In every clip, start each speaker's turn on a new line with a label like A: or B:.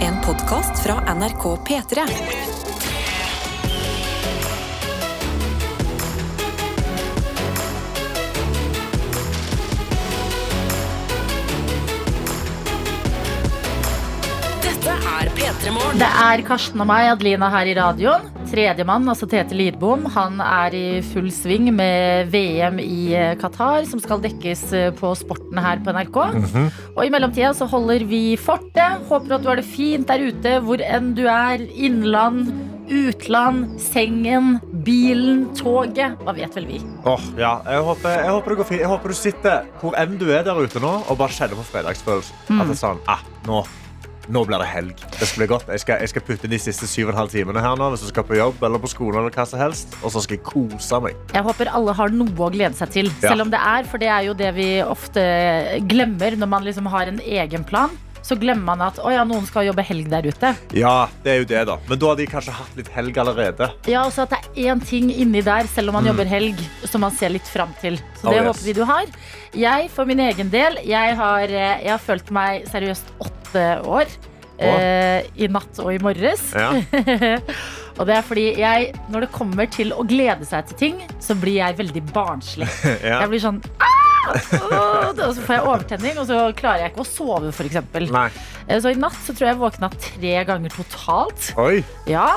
A: En podkast fra NRK P3. Dette er P3 Morgen.
B: Det er Karsten og meg, Adelina, her i radioen. Tredjemann, altså Tete Lidbom, han er i full sving med VM i eh, Qatar, som skal dekkes eh, på Sporten her på NRK.
C: Mm.
B: Og i mellomtida så holder vi fortet. Håper at du har det fint der ute, hvor enn du er. Innland, utland, sengen, bilen, toget. Hva vet vel vi?
C: Åh, ja. jeg, håper, jeg, håper det går fint. jeg håper du sitter hvor enn du er der ute nå, og bare kjenner på fredagsfølelsen. At det er sånn, ah, nå, nå blir det helg. Det skal bli godt. Jeg skal, jeg skal putte inn de siste syv og en halv timene her nå, hvis jeg skal på jobb eller på skolen eller hva som helst, og så skal jeg kose meg.
B: Jeg håper alle har noe å glede seg til.
C: Ja.
B: Selv om det er, for det er jo det vi ofte glemmer når man liksom har en egen plan. Så glemmer man at å ja, noen skal jobbe helg der ute.
C: Ja, det er jo det da. Men da har de kanskje hatt litt helg allerede.
B: Ja, også at det er én ting inni der, selv om man jobber helg, som man ser litt fram til. Så det
C: Oh, Mm. yes.
B: håper vi du har. Jeg, for min egen del, jeg har, eh, jeg har følt meg seriøst åtte år. Eh, I natt og i morges.
C: Ja.
B: og det er fordi jeg, når det kommer til å glede seg til ting, så blir jeg veldig barnslig.
C: Ja.
B: Jeg blir sånn «Ah! Åh!» og så får jeg overtenning, og så klarer jeg ikke å sove, f.eks.
C: Nei.
B: Så i natt så tror jeg jeg våkna tre ganger totalt.
C: Oi.
B: Ja,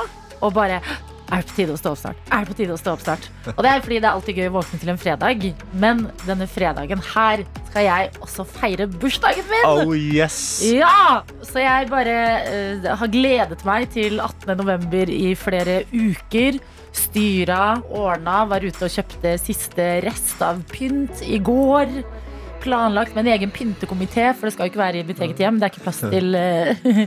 B: og bare er det på tide å stå opp snart? Er det på tide å stå opp snart? Og det er fordi det er alltid gøy å våkne til en fredag, men denne fredagen her skal jeg også feire bursdagen min!
C: Oh, yes.
B: Ja! Så jeg bare eh, har gledet meg til 18. november i flere uker. Styra, ordna, var ute og kjøpte siste rest av pynt i går. Planlagt med en egen pyntekomité, for det skal jo ikke være i mitt eget hjem. Det er ikke plass til eh,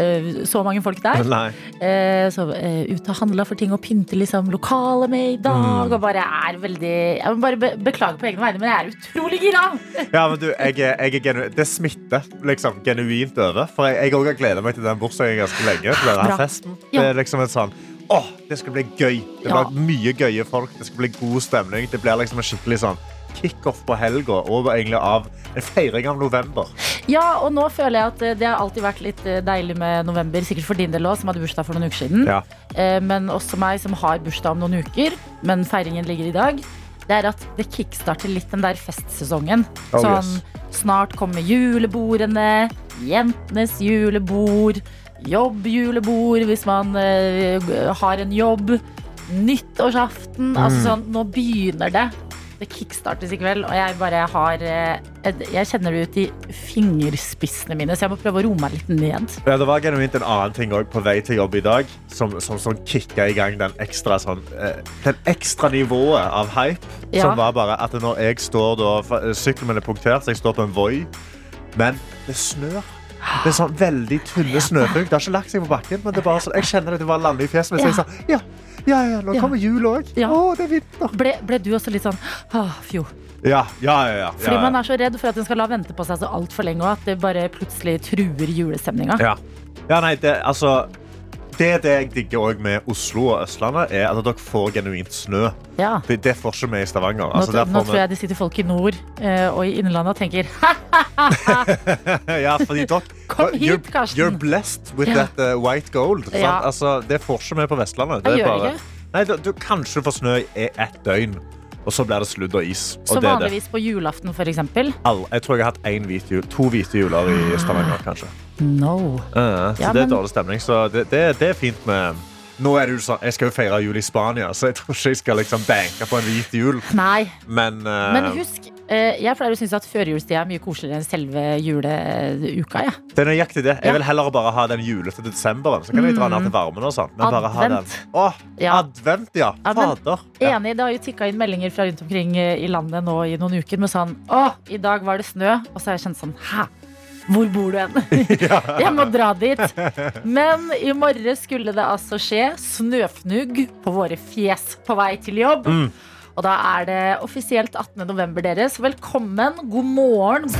B: eh, så mange folk der.
C: Nei.
B: Eh, så eh, ute og handla for ting og pynte liksom, lokalet med i dag. Og bare er veldig Jeg må bare be beklage på egne vegne, men jeg er utrolig gira!
C: Ja, men du, jeg, er- jeg er genu det smitter liksom genuint over. For jeg- jeg òg har gleda meg til den bursdagen ganske lenge. Til denne
B: Bra.
C: her festen.
B: Ja.
C: Det er liksom en sånn Åh, det skal bli gøy. Det
B: Ja.
C: blir mye gøye folk. Det skal bli god stemning. Det blir liksom en skikkelig sånn kickoff på helga og egentlig av en feiring av november.
B: Ja, og nå føler jeg at eh, det har alltid vært litt eh, deilig med november. Sikkert for din del òg, som hadde bursdag for noen uker siden.
C: Ja.
B: Eh, men også meg, som har bursdag om noen uker. Men feiringen ligger i dag. Det er at det kickstarter litt den der festsesongen.
C: Oh,
B: sånn
C: yes.
B: snart kommer julebordene, jentenes julebord, jobbjulebord hvis man eh, har en jobb. Nyttårsaften.
C: Mm.
B: Altså sånn, nå begynner det. Det kickstartes i kveld, og jeg bare har eh, et- Jeg kjenner det ut i fingerspissene mine, så jeg må prøve å roe meg litt ned.
C: Ja, det var genuint en annen ting også på vei til jobb i dag som, som, som kicka i gang den ekstra, sånn, eh, den ekstra nivået av hype.
B: Ja.
C: Som var bare at når jeg står da for- eh, Sykkelen min er punktert, så jeg står på en Voi. Men det snør. Det er sånn veldig tynne snøfugg. Det har ikke lagt seg på bakken, men det er bare sånn, jeg kjenner det til å lande i fjeset mitt. så jeg
B: Ja.
C: Sånn, ja, ja, ja, nå
B: Ja.
C: kommer jul òg.
B: Ja.
C: Å, det er vinter.
B: Ble, ble du også litt sånn ah, fjo?
C: Ja, ja, ja. ja,
B: Fordi
C: ja,
B: man
C: ja.
B: er så redd for at den skal la vente på seg så altfor lenge, og at det bare plutselig truer julestemninga.
C: Ja. ja, nei, det altså Det er det jeg digger også med Oslo og Østlandet, er at dere får genuint snø.
B: Ja.
C: Det, det får ikke vi i Stavanger.
B: Nå,
C: Altså, der
B: nå
C: får
B: tror jeg det sitter folk i nord eh, og i Innlandet og tenker ha,
C: vi- ja, fordi dere,
B: Kom
C: you're-
B: hit, Karsten.
C: You're blessed with
B: Ja.
C: that uh, white gold. sant?
B: Ja.
C: Altså, det får ikke vi på
B: Jeg
C: Vestlandet. Det er
B: gjør
C: bare-
B: ikke.
C: Nei, du, du, kanskje du får snø i ett døgn, og så blir det sludd og is. Og
B: Som
C: det er det.
B: vanligvis på julaften, for eksempel.
C: All, jeg tror jeg har hatt én hvit jul, to hvite juler i Stavanger, kanskje.
B: No.
C: Eh, så
B: Ah. Ja,
C: det er
B: men-
C: dårlig stemning. Så det, det, det er fint med Nå er det jo sånn, Jeg skal jo feire jul i Spania, så jeg tror ikke jeg skal liksom banke på en hvit jul.
B: Nei.
C: Men, eh,
B: Men husk, eh, jeg pleier å synes at førjulstida er mye koseligere enn selve juleuka. Ja.
C: Det er nøyaktig det. Jeg
B: Ja. Mm.
C: vil heller bare ha den julete desemberen. Så kan jeg dra ned til varmen og sånn. Men bare ha den.
B: Advent.
C: Åh,
B: Ja.
C: advent, ja.
B: Advent.
C: Fader. Ja.
B: Enig, Det har jo tikka inn meldinger fra rundt omkring eh, i landet nå i noen uker med sånn Å, i dag var det snø. Og så har jeg kjent sånn Hæ? Hvor bor du hen? jeg må dra dit. Men i morges skulle det altså skje snøfnugg på våre fjes på vei til jobb. Og da er det offisielt 18. november deres. Velkommen, god morgen.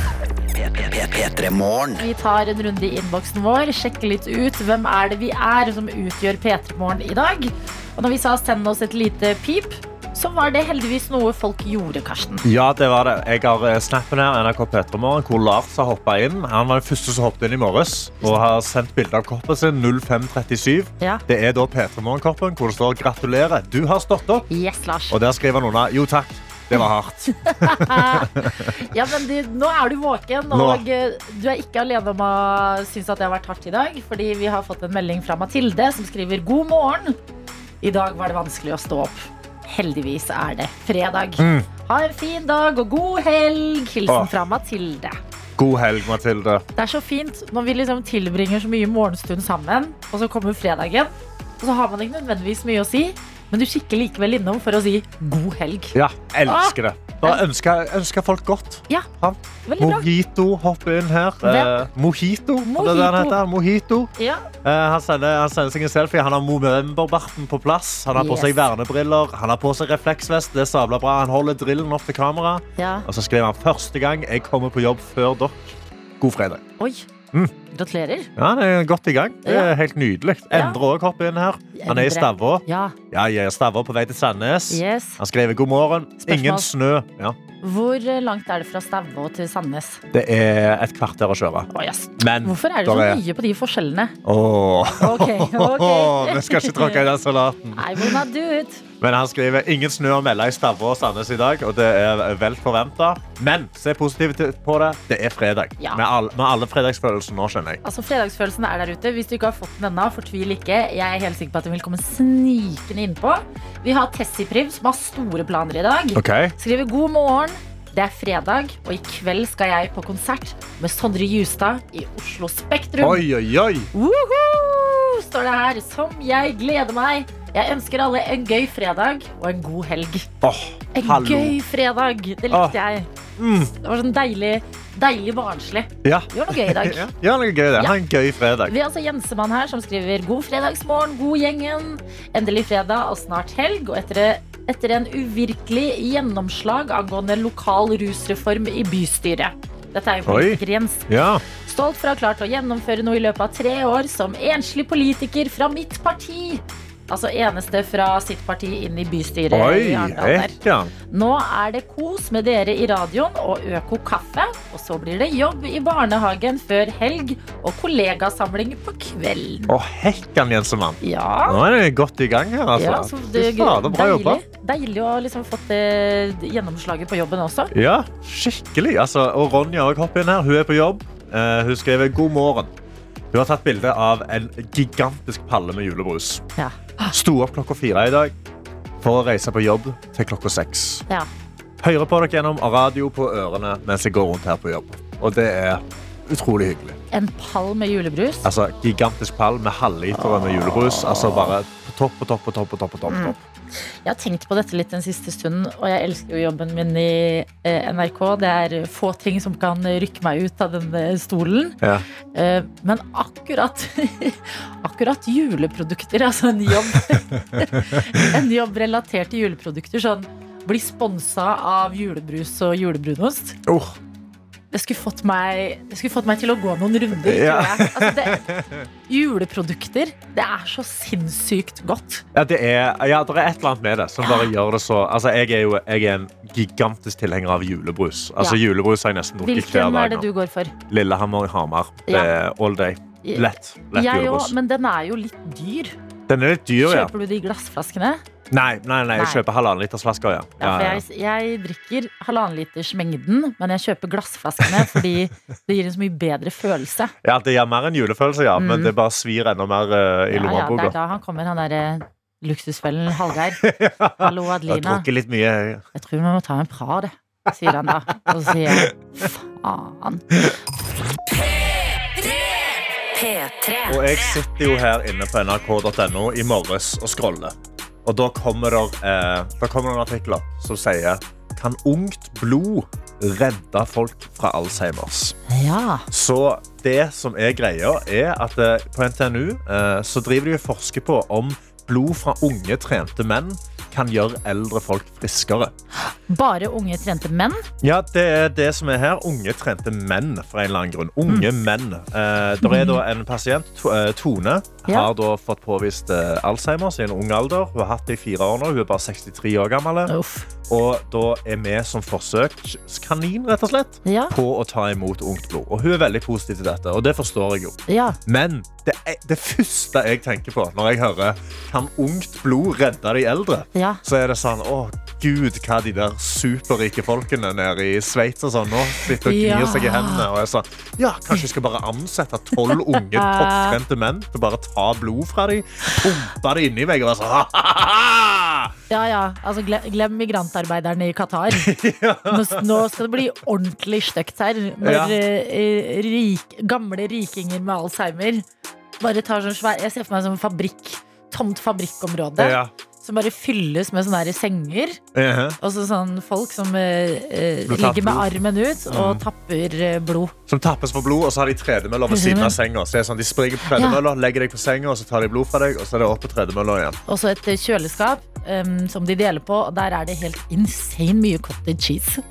B: Vi tar en runde i innboksen vår, sjekker litt ut hvem er det vi er som utgjør P3morgen i dag. Og når vi sa send oss et lite pip, så var det heldigvis noe folk gjorde, Karsten.
C: Ja, det var det. Jeg har eh, snappen her, NRK Petremorgen, hvor Lars har hoppa inn. Han var den første som hoppet inn i morges og har sendt bilde av koppen sin 0537.
B: Ja.
C: Det er da Petremorgen-koppen hvor det står 'Gratulerer, du har stått opp'.
B: Yes, Lars.
C: Og der skriver han under 'Jo takk, det var hardt'.
B: Ja, men du, nå er du våken,
C: Nå.
B: og eh, du er ikke alene om å synes at det har vært hardt i dag. Fordi vi har fått en melding fra Mathilde som skriver God morgen. I dag var det vanskelig å stå opp. Heldigvis er det fredag. Ha en fin dag og god helg. Hilsen
C: Mm. Åh.
B: fra Mathilde.
C: God helg, Mathilde.
B: Det er så fint når vi liksom tilbringer så mye morgenstund sammen, og så kommer fredagen. Og så har man ikke nødvendigvis mye å si, men du kikker likevel innom for å si god helg.
C: Ja, elsker det. Bare ønsker, ønsker folk godt.
B: Ja,
C: Han.
B: veldig bra.
C: Mojito hopper inn her.
B: Hvem?
C: Eh, mojito, Mojito. Det er
B: Mojito.
C: det han heter. Mojito.
B: Ja.
C: Eh, han, sender, han sender seg en selfie. Han har Movember-barten på plass. Han har på
B: Yes.
C: seg vernebriller, han har på seg refleksvest. Det er sabla bra. Han holder drillen opp til kamera.
B: ja.
C: Og så skriver han første gang jeg kommer på jobb før dere. God fredag.
B: Oi.
C: Mm.
B: Gratulerer.
C: Ja, Han er godt i gang. Det er
B: Ja.
C: helt nydelig.
B: Ja.
C: Endre òg hopper inn her. Han er i
B: Endre.
C: Stavå.
B: Ja.
C: Ja, jeg er i Stavå på vei til Sandnes.
B: Yes.
C: Han skriver god morgen. Ingen
B: Spørsmål.
C: snø. Ja.
B: Hvor langt er det fra Stavå til Sandnes?
C: Det er et kvarter å kjøre.
B: Å, yes.
C: Men
B: Hvorfor er det
C: der
B: så
C: er-
B: mye på de forskjellene?
C: Åh,
B: Ok, ok.
C: Vi skal ikke tråkke i den salaten.
B: I will not do it.
C: Men han skriver ingen snø å melde i Stavå og Sandnes i dag, og det er vel forventa. Men se positivt på det. Det er fredag.
B: Ja.
C: Med, all, med alle fredagsfølelser nå, skjønner jeg.
B: Altså, Fredagsfølelsen er der ute. Hvis du ikke har fått den ennå, fortvil ikke. Jeg er helt sikker på at den vil komme snikende innpå. Vi har Tessie Priv, som har store planer i dag. Skriver god morgen. Det er fredag, og i kveld skal jeg på konsert med Sondre Justad i Oslo Spektrum.
C: Oi, oi, oi.
B: Woohoo! Står det her. Som jeg gleder meg. Jeg ønsker alle en gøy fredag og en god helg.
C: Åh,
B: En
C: hallo. Ah.
B: gøy fredag. Det
C: Åh.
B: likte jeg. Det var sånn deilig, deilig barnslig.
C: Ja.
B: Gjør noe gøy i dag.
C: Ja, ja, det er gøy det. Ha en gøy fredag.
B: Vi har altså Jensemann her som skriver God fredagsmorgen, god gjengen. Endelig fredag og snart helg. Og etter, etter en uvirkelig gjennomslag angående lokal rusreform i bystyret. Dette er jo
C: Oi.
B: politiker Jens
C: Ja.
B: Stolt for å ha klart å gjennomføre noe i løpet av tre år som enslig politiker fra mitt parti. Altså eneste fra sitt parti inn i bystyret
C: Oi,
B: i
C: eh.
B: Arendal. der.
C: ekka.
B: Nå er det kos med dere i radioen og Øko kaffe. Og så blir det jobb i barnehagen før helg og kollegasamling på kvelden.
C: Å, hekkan, Jensemann.
B: Ja.
C: Nå er det godt i gang her, altså.
B: ja, så det,
C: Fy fader, bra jobba.
B: deilig, deilig å ha liksom fått det gjennomslaget på jobben også.
C: Ja, skikkelig. Altså, og Ronja også hopper inn her. Hun er på jobb. Eh, hun skriver god morgen. Hun har tatt bilde av en gigantisk palle med julebrus.
B: Ja.
C: Sto opp klokka fire i dag for å reise på jobb til klokka seks.
B: Ja.
C: Hører på dere gjennom radio på ørene mens jeg går rundt her på jobb. Og det er utrolig hyggelig.
B: En pall med julebrus.
C: Altså, Gigantisk pall med halvlitere med julebrus. Altså bare på topp, på topp, på topp. på topp, på topp, på topp.
B: Jeg har tenkt på dette litt den siste stunden, og jeg elsker jo jobben min i eh, NRK. Det er få ting som kan rykke meg ut av denne stolen.
C: Ja.
B: Eh, men akkurat, akkurat juleprodukter, altså en jobb En jobb relatert til juleprodukter, sånn bli sponsa av julebrus og julebrunost.
C: Uh,
B: Det skulle fått meg, det skulle fått meg til å gå noen runder.
C: Ja.
B: Tror jeg. Altså det, juleprodukter, det er så sinnssykt godt.
C: Ja, det er, ja, det er et eller annet med det som bare gjør det så altså, jeg, er jo, jeg er en gigantisk tilhenger av julebrus. Altså,
B: Ja.
C: Julebrus har jeg nesten drukket hver
B: Hvilken er
C: dag.
B: det
C: nå.
B: du går for?
C: Lillehammer i Hamar. Det
B: Ja.
C: er All day. Lett. Lett
B: jeg
C: julebrus.
B: òg, men den er jo litt dyr.
C: Den er litt dyr, ja.
B: Kjøper du de glassflaskene?
C: Nei, nei, nei, jeg
B: Nei.
C: kjøper halvannen liters flasker, ja.
B: Ja, for
C: Ja,
B: jeg, jeg drikker halvannenlitersmengden, men jeg kjøper glassflaskene fordi det gir en så mye bedre følelse.
C: ja. ja, det gir mer enn julefølelse, ja, men
B: Mm.
C: det bare svir enda mer eh, i
B: Ja, ja, det
C: lommeboka.
B: er da han kommer, han derre luksusfellen Hallgeir. Hallo,
C: Jeg har
B: Adelina.
C: drukket litt mye. jeg.
B: Jeg tror vi må ta en prat, det, sier han da. Og så sier jeg faen.
A: P3.
C: Og jeg sitter jo her inne på nrk.no i morges og scroller. Og da kommer det eh, da kommer det en artikkel opp som sier Kan ungt blod redde folk fra Alzheimers?
B: Ja.
C: Så det som er greia, er at eh, på NTNU eh, så driver de og forsker på om blod fra unge trente menn
D: kan gjøre eldre folk friskere.
B: Bare unge, trente menn.
C: Ja, det er det som er her. Unge trente menn, for en eller annen grunn.
B: Mm.
C: Unge menn. Eh, der er da en pasient, To- eh, Tone,
B: Ja.
C: har da fått påvist eh, Alzheimers i en ung alder. Hun har hatt det i fire år nå, hun er bare 63 år gammel.
B: Uff.
C: Og da er vi som forsøkskanin, rett og slett,
B: Ja.
C: på å ta imot ungt blod. Og hun er veldig positiv til dette, og det forstår jeg jo.
B: ja.
C: Men det, er, det første jeg tenker på når jeg hører kan ungt blod redde de eldre,
B: Ja.
C: så er det sånn Å, gud, hva de der superrike folkene nede i Sveits og sånn nå sitter og
B: Ja.
C: gnir seg i hendene. Og er sånn Ja, kanskje jeg skal bare ansette tolv unge topptrente menn til å bare ta blod fra dem, pumpe det inni meg og være sånn «Ha-ha-ha!»
B: Ja, ja. Altså, glem, glem migrantarbeiderne i Qatar. Nå, s- nå skal det bli ordentlig stygt her. Når
C: Ja.
B: eh, rik, gamle rikinger med alzheimer bare tar sånn svær Jeg ser for meg som en fabrikk. Tomt fabrikkområde
C: Ja.
B: som bare fylles med sånne her senger.
C: Eh,
B: Og så sånn folk som eh, eh,
C: Blir tatt
B: ligger med
C: blod. Mm.
B: armen ut og tapper eh, blod.
C: Som tappes for blod, og så har de tredemøller ved siden av senga. Så det er sånn, de springer på tredemøller, legger deg på senga, og så tar de blod fra deg, og så er det opp på tredemølla igjen.
B: Og så et eh, kjøleskap em, som de deler på, og der er det helt insane mye cottage cheese.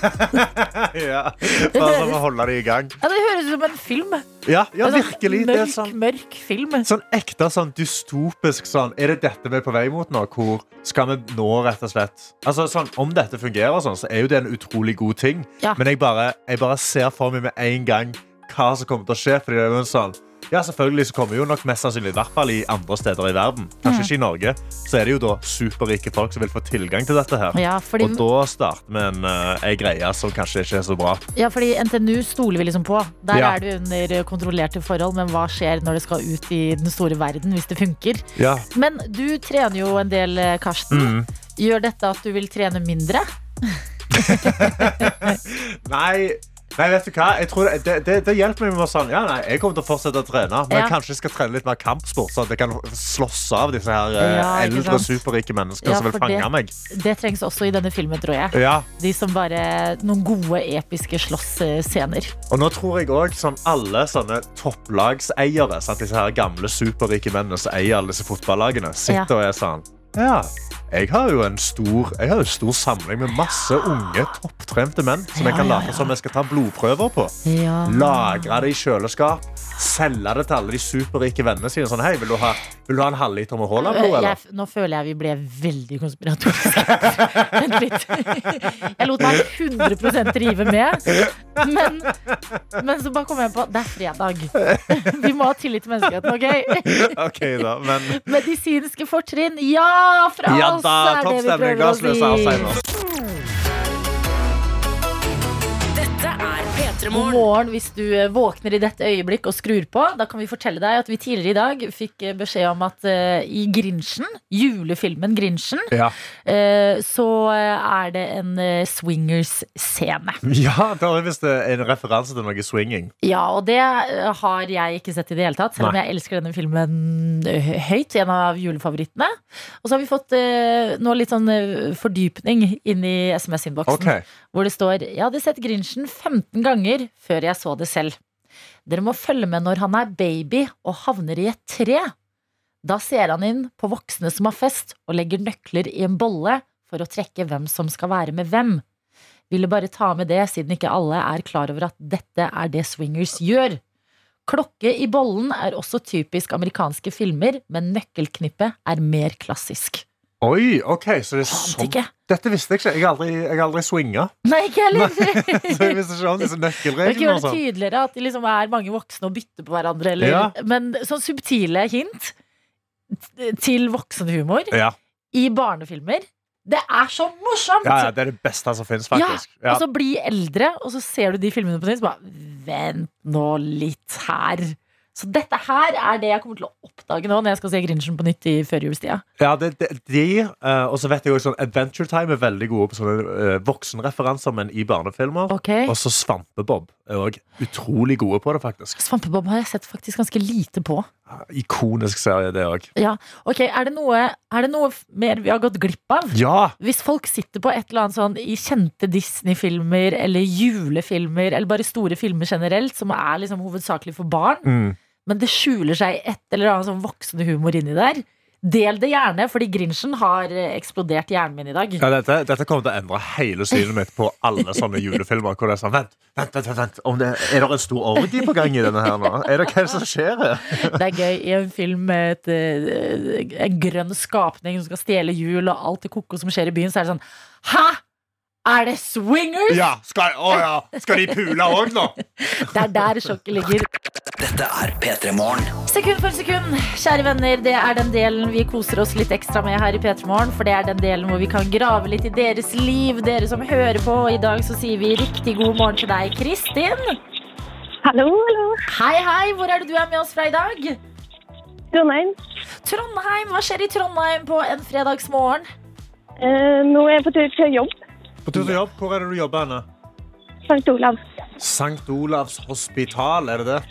C: ja. Bare sånn å holde dem i gang.
B: Ja, det høres ut som en film.
C: Ja, ja
B: En sånn
C: virkelig. Det
B: Mørk,
C: er sånn
B: mørk film.
C: Sånn ekte sånn dystopisk sånn Er det dette vi er på vei mot nå? Hvor skal vi nå, rett og slett? Altså, sånn, om dette fungerer, sånn, så er jo det en utrolig god ting.
B: Ja.
C: Men jeg bare, jeg bare ser for meg med en gang hva som kommer til å skje. Fordi det er jo en sånn ja, selvfølgelig så kommer jo nok mest sannsynlig i hvert fall i andre steder i verden.
B: Mm.
C: Kanskje ikke i Norge. Så er det jo da superrike folk som vil få tilgang til dette her.
B: Ja, fordi,
C: Og da starter vi en, eh, ei greie som kanskje ikke er så bra.
B: ja, fordi NTNU stoler vi liksom på. Der
C: Ja.
B: er du under kontrollerte forhold, men hva skjer når det skal ut i den store verden, hvis det funker?
C: Ja.
B: Men du trener jo en del, eh,
C: Mm.
B: Karsten. Gjør dette at du vil trene mindre?
C: Nei, nei, vet du hva? Jeg tror det, det, det, det hjelper meg med å sånn, ja, nei, jeg kommer til å fortsette å trene. Men
B: Ja.
C: kanskje jeg skal trene litt mer kampsport, sånn at jeg kan slåss av disse her eh,
B: Ja, ikke
C: eldre,
B: sant?
C: superrike menneskene
B: Ja,
C: som vil
B: for
C: fange
B: det-
C: meg.
B: Det trengs også i denne filmen, tror jeg.
C: Ja,
B: De som bare Noen gode, episke eh, slåssscener.
C: og nå tror jeg også sånn, alle sånne topplagseiere, sant, disse her gamle superrike mennene som eier alle disse fotballagene, sitter og er sånn, ja, jeg har jo en stor, jeg har jo en stor samling med masse unge, topptrente menn, som jeg
B: Ja,
C: kan
B: ja,
C: late som jeg skal ta blodprøver på.
B: Ja.
C: Lagre det i kjøleskap. Selge det til alle de superrike vennene sine. Sånn, hei, vil du ha, vil du ha en halvliter med Haaland nå,
B: Eh, Jeg,
C: eller?
B: nå føler jeg vi ble veldig konspiratoriske. Vent litt. Jeg lot meg 100 rive med. Men, men så bare kom jeg på det er fredag. Vi må ha tillit til menneskeheten, OK?
C: OK, da. Men
B: Medisinske fortrinn, ja! Fra
C: ja
B: oss
C: da,
B: er
C: topp
B: det vi
C: stemning.
B: prøver
C: La
B: å
C: oss løse
B: si.
C: Alzheimer.
A: Dette er P3
B: God
A: Morgen.
B: morgen hvis du eh, våkner i dette øyeblikk og skrur på. Da kan vi fortelle deg at vi tidligere i dag fikk eh, beskjed om at eh, i Grinchen, julefilmen Grinchen,
C: Ja.
B: eh, så eh, er det en eh, swingers-scene.
C: ja, da er visst eh, en referanse til noe swinging.
B: Ja, og det eh, har jeg ikke sett i det hele tatt, selv om
C: Nei.
B: jeg elsker denne filmen eh, høyt. En av julefavorittene. Og så har vi fått eh, nå litt sånn eh, fordypning inn i SMS-innboksen.
C: OK.
B: Hvor det står Jeg hadde sett Grinchen 15 ganger før jeg så det selv. Dere må følge med når han er baby og havner i et tre. Da ser han inn på voksne som har fest, og legger nøkler i en bolle for å trekke hvem som skal være med hvem. Ville bare ta med det, siden ikke alle er klar over at dette er det swingers gjør. Klokke i bollen er også typisk amerikanske filmer, men nøkkelknippet er mer klassisk.
C: Oi, ok, så det er
B: Ante
C: sånn
B: ikke.
C: Dette visste jeg ikke. Jeg har aldri, jeg har aldri swinga.
B: Nei, ikke
C: Så jeg
B: heller.
C: visste ikke om
B: Det
C: disse
B: ikke
C: nøkkelreglene.
B: gjør
C: og
B: det
C: sånn.
B: tydeligere at det liksom er mange voksne og bytter på hverandre. Eller,
C: Ja.
B: Men sånn subtile hint t- til voksenhumor
C: Ja.
B: i barnefilmer. Det er så morsomt!
C: Ja, ja, det er det beste som finnes,
B: Altså- Ja, altså-
C: faktisk. Ja.
B: Og så bli eldre, og så ser du de filmene på nytt. så Bare vent nå litt her. Så dette her er det jeg kommer til å oppdage nå når jeg skal se Grinchen på nytt i førjulstida.
C: Ja, det, det, de, eh, og så vet jeg også, sånn, Adventure Time er veldig gode på sånne eh, voksenreferanser, men i barnefilmer.
B: Ok.
C: Og så Svampebob er òg utrolig gode på det, faktisk.
B: Svampebob har jeg sett faktisk ganske lite på.
C: Ikonisk serie, det òg.
B: Ja, ok, er det, noe, er det noe f- mer vi har gått glipp av?
C: Ja!
B: Hvis folk sitter på et eller annet sånn i kjente Disney-filmer eller julefilmer eller bare store filmer generelt, som er liksom hovedsakelig for barn,
C: Mm.
B: men det skjuler seg et eller annet sånn voksende humor inni der, Del det gjerne, fordi Grinchen har eh, eksplodert i hjernen min i dag.
C: Ja, dette, dette kommer til å endre hele synet mitt på alle sånne julefilmer. Hvor det er sånn, vent, vent, vent, vent. Om det, Er det en stor orgie på gang i denne her nå? Er det hva er det som skjer her?
B: Det er gøy i en film med et, eh, en grønn skapning som skal stjele hjul, og alt det koko som skjer i byen, så er det sånn Hæ?! Er det swingers?!
C: Ja, skal, å ja, skal de pule òg nå?
B: Det er der sjokket ligger.
E: Dette er P3 Morgen.
B: Sekund for sekund, kjære venner, det er den delen vi koser oss litt ekstra med her i P3 Morgen. For det er den delen hvor vi kan grave litt i deres liv, dere som hører på. Og i dag så sier vi riktig god morgen til deg, Kristin.
F: Hallo, hallo.
B: Hei, hei, hvor er det du er med oss fra i dag?
F: Trondheim.
B: Trondheim, hva skjer i Trondheim på en fredagsmorgen?
F: Eh, nå er jeg på tur til jobb.
C: På tur til jobb, Hvor er det du jobber? Anne?
F: St. Olav.
C: Sankt Olavs hospital, er det det?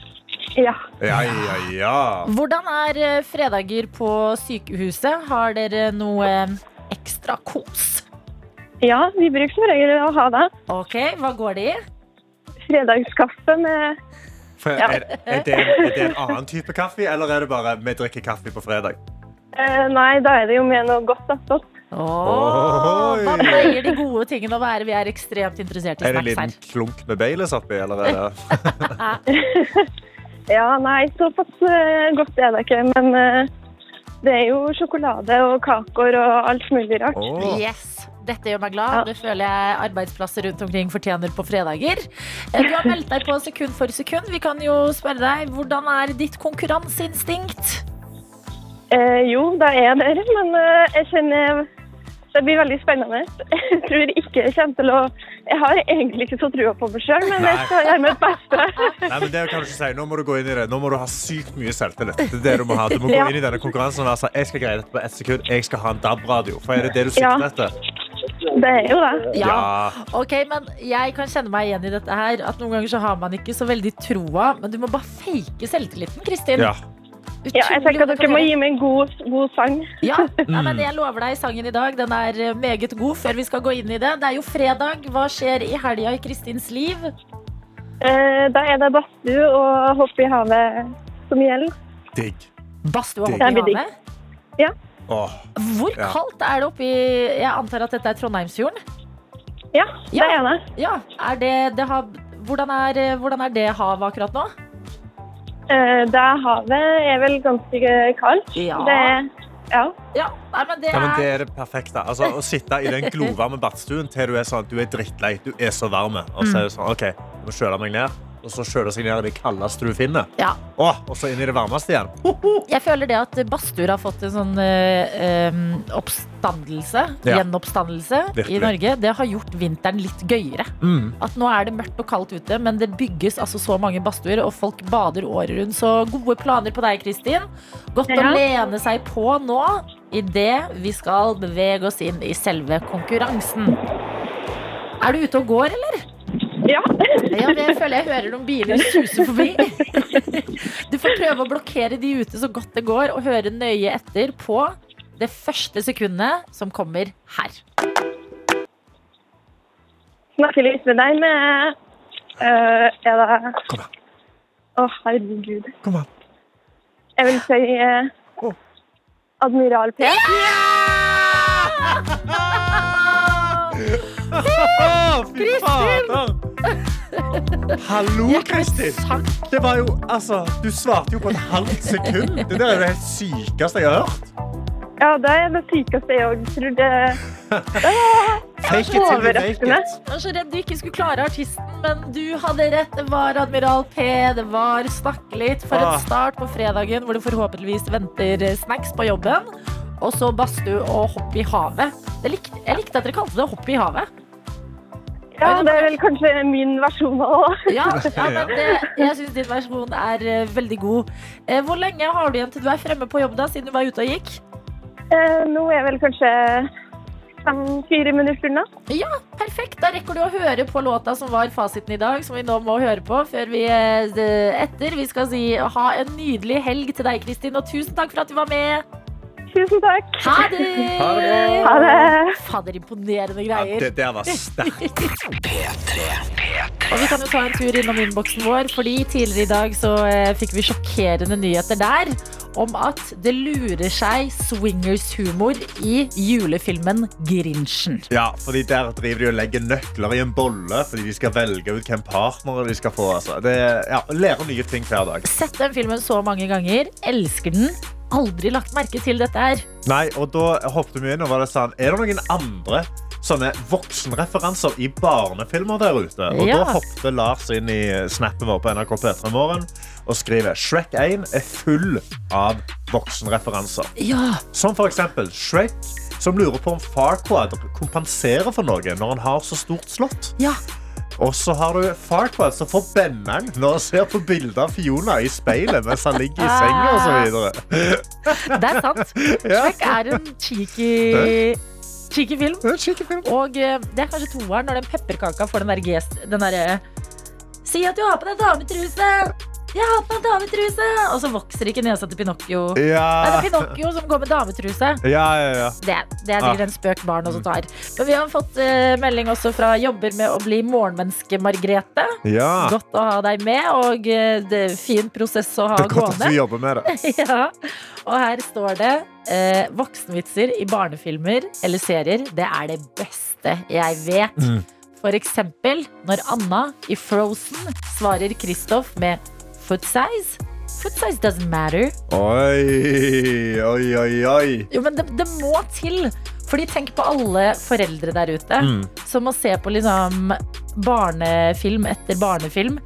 F: Ja.
C: Ja, ja, ja.
B: Hvordan er eh, fredager på sykehuset? Har dere noe eh, ekstra kos?
F: ja, vi bruker som regel å ha det.
B: Ok, hva går det i?
F: Fredagskaffe med
C: For er, er, det, er det en annen type kaffe, eller er det bare vi drikker kaffe på fredag?
F: eh, Nei, da er det jo med noe godt attåt.
B: Åh,
C: Oi.
B: hva pleier de gode tingene å være? Vi er ekstremt interessert i
C: Er det en
B: snacks
C: liten
B: her.
C: klunk med Baileys oppi, eller er det
F: Ja, nei, såpass eh, godt er det ikke. Men eh, det er jo sjokolade og kaker og alt mulig rart.
C: Åh.
B: Yes, dette gjør meg glad. Det føler jeg arbeidsplasser rundt omkring fortjener på fredager. Eh, Du har meldt deg på sekund for sekund. Vi kan jo spørre deg, hvordan er ditt konkurranseinstinkt?
F: Eh, jo, da er jeg der, men eh, jeg kjenner det blir veldig spennende. Jeg tror ikke jeg kommer til å Jeg har egentlig ikke så trua på meg sjøl, men jeg skal gjøre mitt beste.
C: Nei, men det kan du ikke si. Nå må du gå inn i det. Nå må du ha sykt mye selvtillit. Det er det du må ha. Du må gå
F: Ja.
C: inn i denne konkurransen og være sånn, jeg skal greie dette på ett sekund. Jeg skal ha en DAB-radio. For er det det du
F: Ja.
C: sikter etter?
F: Det er jo det.
B: Ok, men jeg kan kjenne meg igjen i dette her. At noen ganger så har man ikke så veldig troa, men du må bare fake selvtilliten, Kristin.
C: Ja.
F: Ja, jeg tenker at dere må gi meg en god, god sang.
B: Ja, nei, men jeg lover deg sangen i dag. Den er eh, meget god før vi skal gå inn i det. Det er jo fredag. Hva skjer i helga i Kristins liv?
F: Eh, da er det badstue og hoppe i havet som gjelder.
C: Digg.
B: Badstue og
C: Det-
B: hoppe
F: Det
B: i
F: blir
B: havet.
C: Åh.
B: Hvor
C: Ja.
B: kaldt er det oppi Jeg antar at dette er Trondheimsfjorden?
F: Ja,
B: Ja.
F: det er det.
B: Ja. Er det, det har, hvordan, er, eh, hvordan er det havet akkurat nå?
F: Eh, det havet er vel ganske kaldt.
B: Ja.
F: Det er, ja.
B: Ja, nei, men det
C: Ja, men det
B: er
C: er det perfekte. Altså, å sitte i den glovarme badstuen til du er sånn, du er drittlei, du er så varm. Og så er det sånn, ok, jeg må kjøle meg ned. Og så kjøle seg ned i det kaldeste du finner.
B: Ja.
C: Åh, og så inn i det varmeste igjen.
B: Jeg føler det at badstuer har fått en sånn eh, em, oppstandelse,
C: Ja.
B: gjenoppstandelse, i
C: Virkelig.
B: Norge. Det har gjort vinteren litt gøyere.
C: Mm.
B: At nå er det mørkt og kaldt ute, men det bygges altså så mange badstuer, og folk bader året rundt. Så gode planer på deg, Kristin. Godt å
F: Ja.
B: lene seg på nå, idet vi skal bevege oss inn i selve konkurransen. Er du ute og går, eller?
F: ja.
B: Ja, men jeg føler jeg hører noen biler suse forbi. Du får prøve å blokkere de ute så godt det går, og høre nøye etter på det første sekundet som kommer her.
F: Snakke litt med deg med eh, Er det Å, herregud.
C: Kom an.
F: Jeg vil si eh, Admiral P.
C: Åh, fy fader! Hallo, Kristin!
B: Sang.
C: Det var jo, altså, du svarte jo på et halvt sekund. Det der er det helt sykeste jeg har hørt.
F: Ja, det er det sykeste jeg òg tror det
C: Fake it till you make it.
B: Jeg var så redd du ikke skulle klare artisten, men du hadde rett. Det var Admiral P, det var Snakke litt. For
C: Ah.
B: en start på fredagen hvor du forhåpentligvis venter eh, snacks på jobben. Og så badstue og hopp i havet. Det likte, jeg likte at dere kalte det hopp i havet.
F: Ja, det er vel kanskje min versjon òg.
B: Ja, ja men det, jeg syns din versjon er eh, veldig god. Eh, hvor lenge har du igjen til du er fremme på jobb, da, siden du var ute og gikk?
F: Eh, nå er jeg vel kanskje fem-fire minutter unna.
B: Perfekt. Da rekker du å høre på låta som var fasiten i dag, som vi nå må høre på før vi eh, d- etter. Vi skal si ha en nydelig helg til deg, Kristin, og tusen takk for at du var med.
F: Tusen takk.
B: Ha det!
C: Ha det!
F: Ha det.
B: Fader, imponerende
C: Ja,
B: greier.
C: det der var sterkt.
B: Og vi kan jo ta en tur innom innboksen vår, fordi tidligere i dag så eh, fikk vi sjokkerende nyheter der. om at det lurer seg swingers-humor i julefilmen Grinchen.
C: Ja, fordi Der driver de og legger nøkler i en bolle fordi de skal velge ut hvem partnere de skal få. Altså. Det, ja, lærer nye ting hver dag.
B: Sett den filmen så mange ganger, elsker den. Aldri lagt merke til dette her.
C: Nei, og da hoppet vi inn og var det sånn Er det noen andre sånne voksenreferanser i barnefilmer der ute? Og
B: Ja.
C: da hoppet Lars inn i snappen vår på NRK P3 Morgen og skriver Shrek 1 er full av voksenreferanser.
B: Ja,
C: Som for eksempel Shrek, som lurer på om Farquaad kompenserer for noe når han har så stort slott.
B: ja.
C: Og så har du Farquaad som får benneren når han ser på bilder av Fiona i speilet mens han ligger i senga og så
B: Ah.
C: videre.
B: Det er sant. Shrek er en cheeky, cheeky film.
C: Det er en skikkelig film.
B: Og eh, det er kanskje toeren når den pepperkaka får den der gest Den derre Si at du har på deg dametruse! Jeg har på meg dametruse! Og så vokser ikke nesa til Pinocchio. Nei, det
C: Ja.
B: er Pinocchio som går med dametruse.
C: Ja, ja, ja.
B: Det, det
C: Ah.
B: er sikkert en spøk barn også tar. Men vi har fått eh, melding også fra jobber med å bli morgenmenneske, Margrete.
C: ja.
B: Godt å ha deg med, og eh, det er fin prosess å ha
C: Det er godt at
B: gående.
C: du jobber med det.
B: Ja, og her står det eh, Voksenvitser i barnefilmer eller serier Det er det beste jeg vet For eksempel når Anna i Frozen Svarer Kristoff med Foot size Foot size doesn't matter
C: Oi, oi, oi, oi.
B: Jo, men det, det må til Fordi tenk på alle foreldre der ute
C: Mm.
B: Som må se på liksom Barnefilm etter barnefilm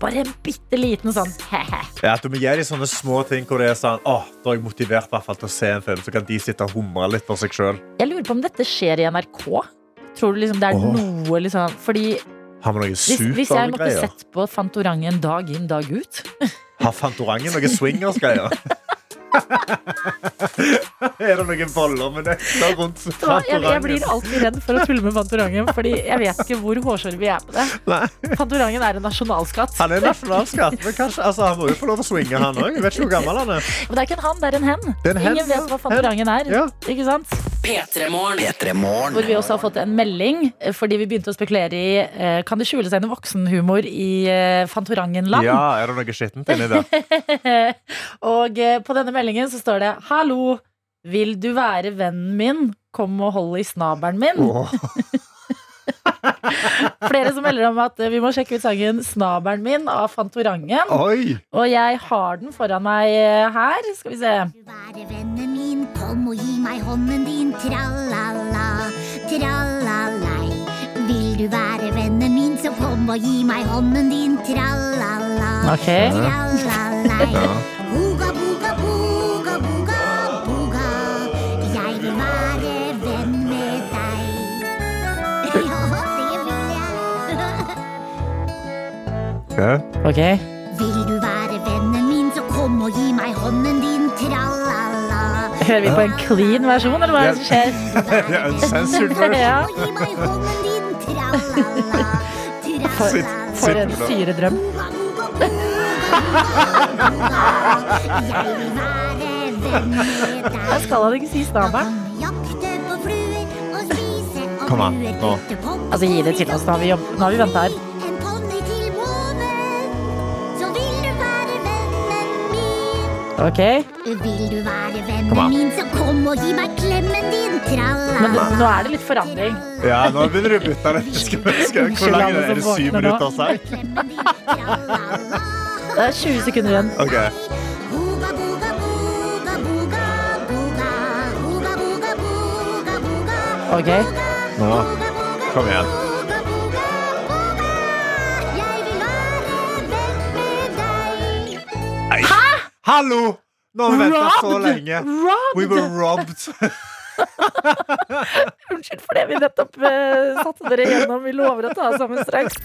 B: Bare en bitteliten sånn Hehe
C: Ja, at du må gi dem sånne små ting hvor det er sånn Åh, da er jeg motivert i hvert fall til å se en film, så kan de sitte og humre litt for seg sjøl.
B: Jeg lurer på om dette skjer i NRK. Tror du liksom det er
C: Åh.
B: noe liksom Fordi
C: Har vi noe
B: hvis, hvis jeg måtte
C: supergreier?
B: sett på Fantorangen dag inn, dag ut
C: Har Fantorangen noe swingers-greier? er det noen boller med nøkler rundt
B: så jeg, jeg
C: Fantorangen?
B: blir alltid redd for å tulle med Fantorangen, Fordi jeg vet ikke hvor hårsåre vi er på det.
C: Nei,
B: Fantorangen er en nasjonalskatt.
C: han er nasjonalskatt, men kanskje, altså, han må jo få lov å swinge, han òg. Jeg vet ikke hvor gammel han er.
B: Men det er ikke en han, det er en hen.
C: Det er en hen,
B: Ingen vet
C: ja.
B: hva Fantorangen er.
C: Ja.
B: Ikke sant?
A: P3morgen.
G: P3
B: Hvor
G: Morgen.
B: vi også har fått en melding eh, fordi vi begynte å spekulere i eh, Kan det skjule seg noe voksenhumor i eh, Fantorangen-land?
C: Ja, er det noe skittent inni der?
B: og eh, på denne meldingen så står det Hallo, vil du være vennen min? Kom og hold i snabelen min.
C: Åh.
B: Flere som melder om at eh, vi må sjekke ut sangen 'Snabelen min' av Fantorangen.
C: Oi!
B: Og jeg har den foran meg eh, her. Skal vi se.
H: Du være vennen min, kom og gi meg hånden din, tralala, tralalei. Vil du være vennen min, så kom og gi meg hånden din, tralala,
B: Ok.
H: tralalei. Boga, boga, boga, boga, boga, jeg vil være venn med deg. Ja, det vil jeg.
C: Okay.
B: Ok.
H: Vil du være vennen min, så kom og gi meg hånden din, tralala.
B: Hører vi på en clean versjon, eller hva er det som skjer?
C: Ja, uncensored
B: Ja.
H: Kom og gi meg hånden din, tralala,
B: For,
H: tralala.
B: for en syredrøm.
H: Jeg vil være venn med
B: Jeg
H: deg.
B: skal han ikke si snabelen.
H: Jakte på fluer og spise og
C: Kom an,
H: fluer,
C: nå.
H: putte på
B: Altså, gi det til oss. Nå har vi, jobb- nå har vi venta her.
H: En ponni til månen, så vil du være vennen min.
B: Ok.
H: Vil du være vennen min, så kom og gi meg klemmen din, tralala.
B: Men nå er det litt forandring.
C: Ja, nå begynner du å bytte det. Skal, skal, hvor
B: Unnskyld,
C: lang er
B: alle som
C: det? Er det syv
B: våkner nå.
C: minutter seg?
H: Klemmen din, tralala.
B: Det er 20 sekunder igjen.
C: Ok.
H: Boga, boga, boga, boga, boga. Boga, boga, boga, boga.
B: Ok.
C: Nå.
H: Boga, boga,
C: Kom igjen.
H: boga, boga, boga. Jeg vil være venn med deg.
C: Hallo! Nå har vi ventet så
B: Robbed!
C: lenge. We were robbed.
B: Unnskyld for det vi nettopp eh, satte dere gjennom. Vi lover å ta oss sammen straks.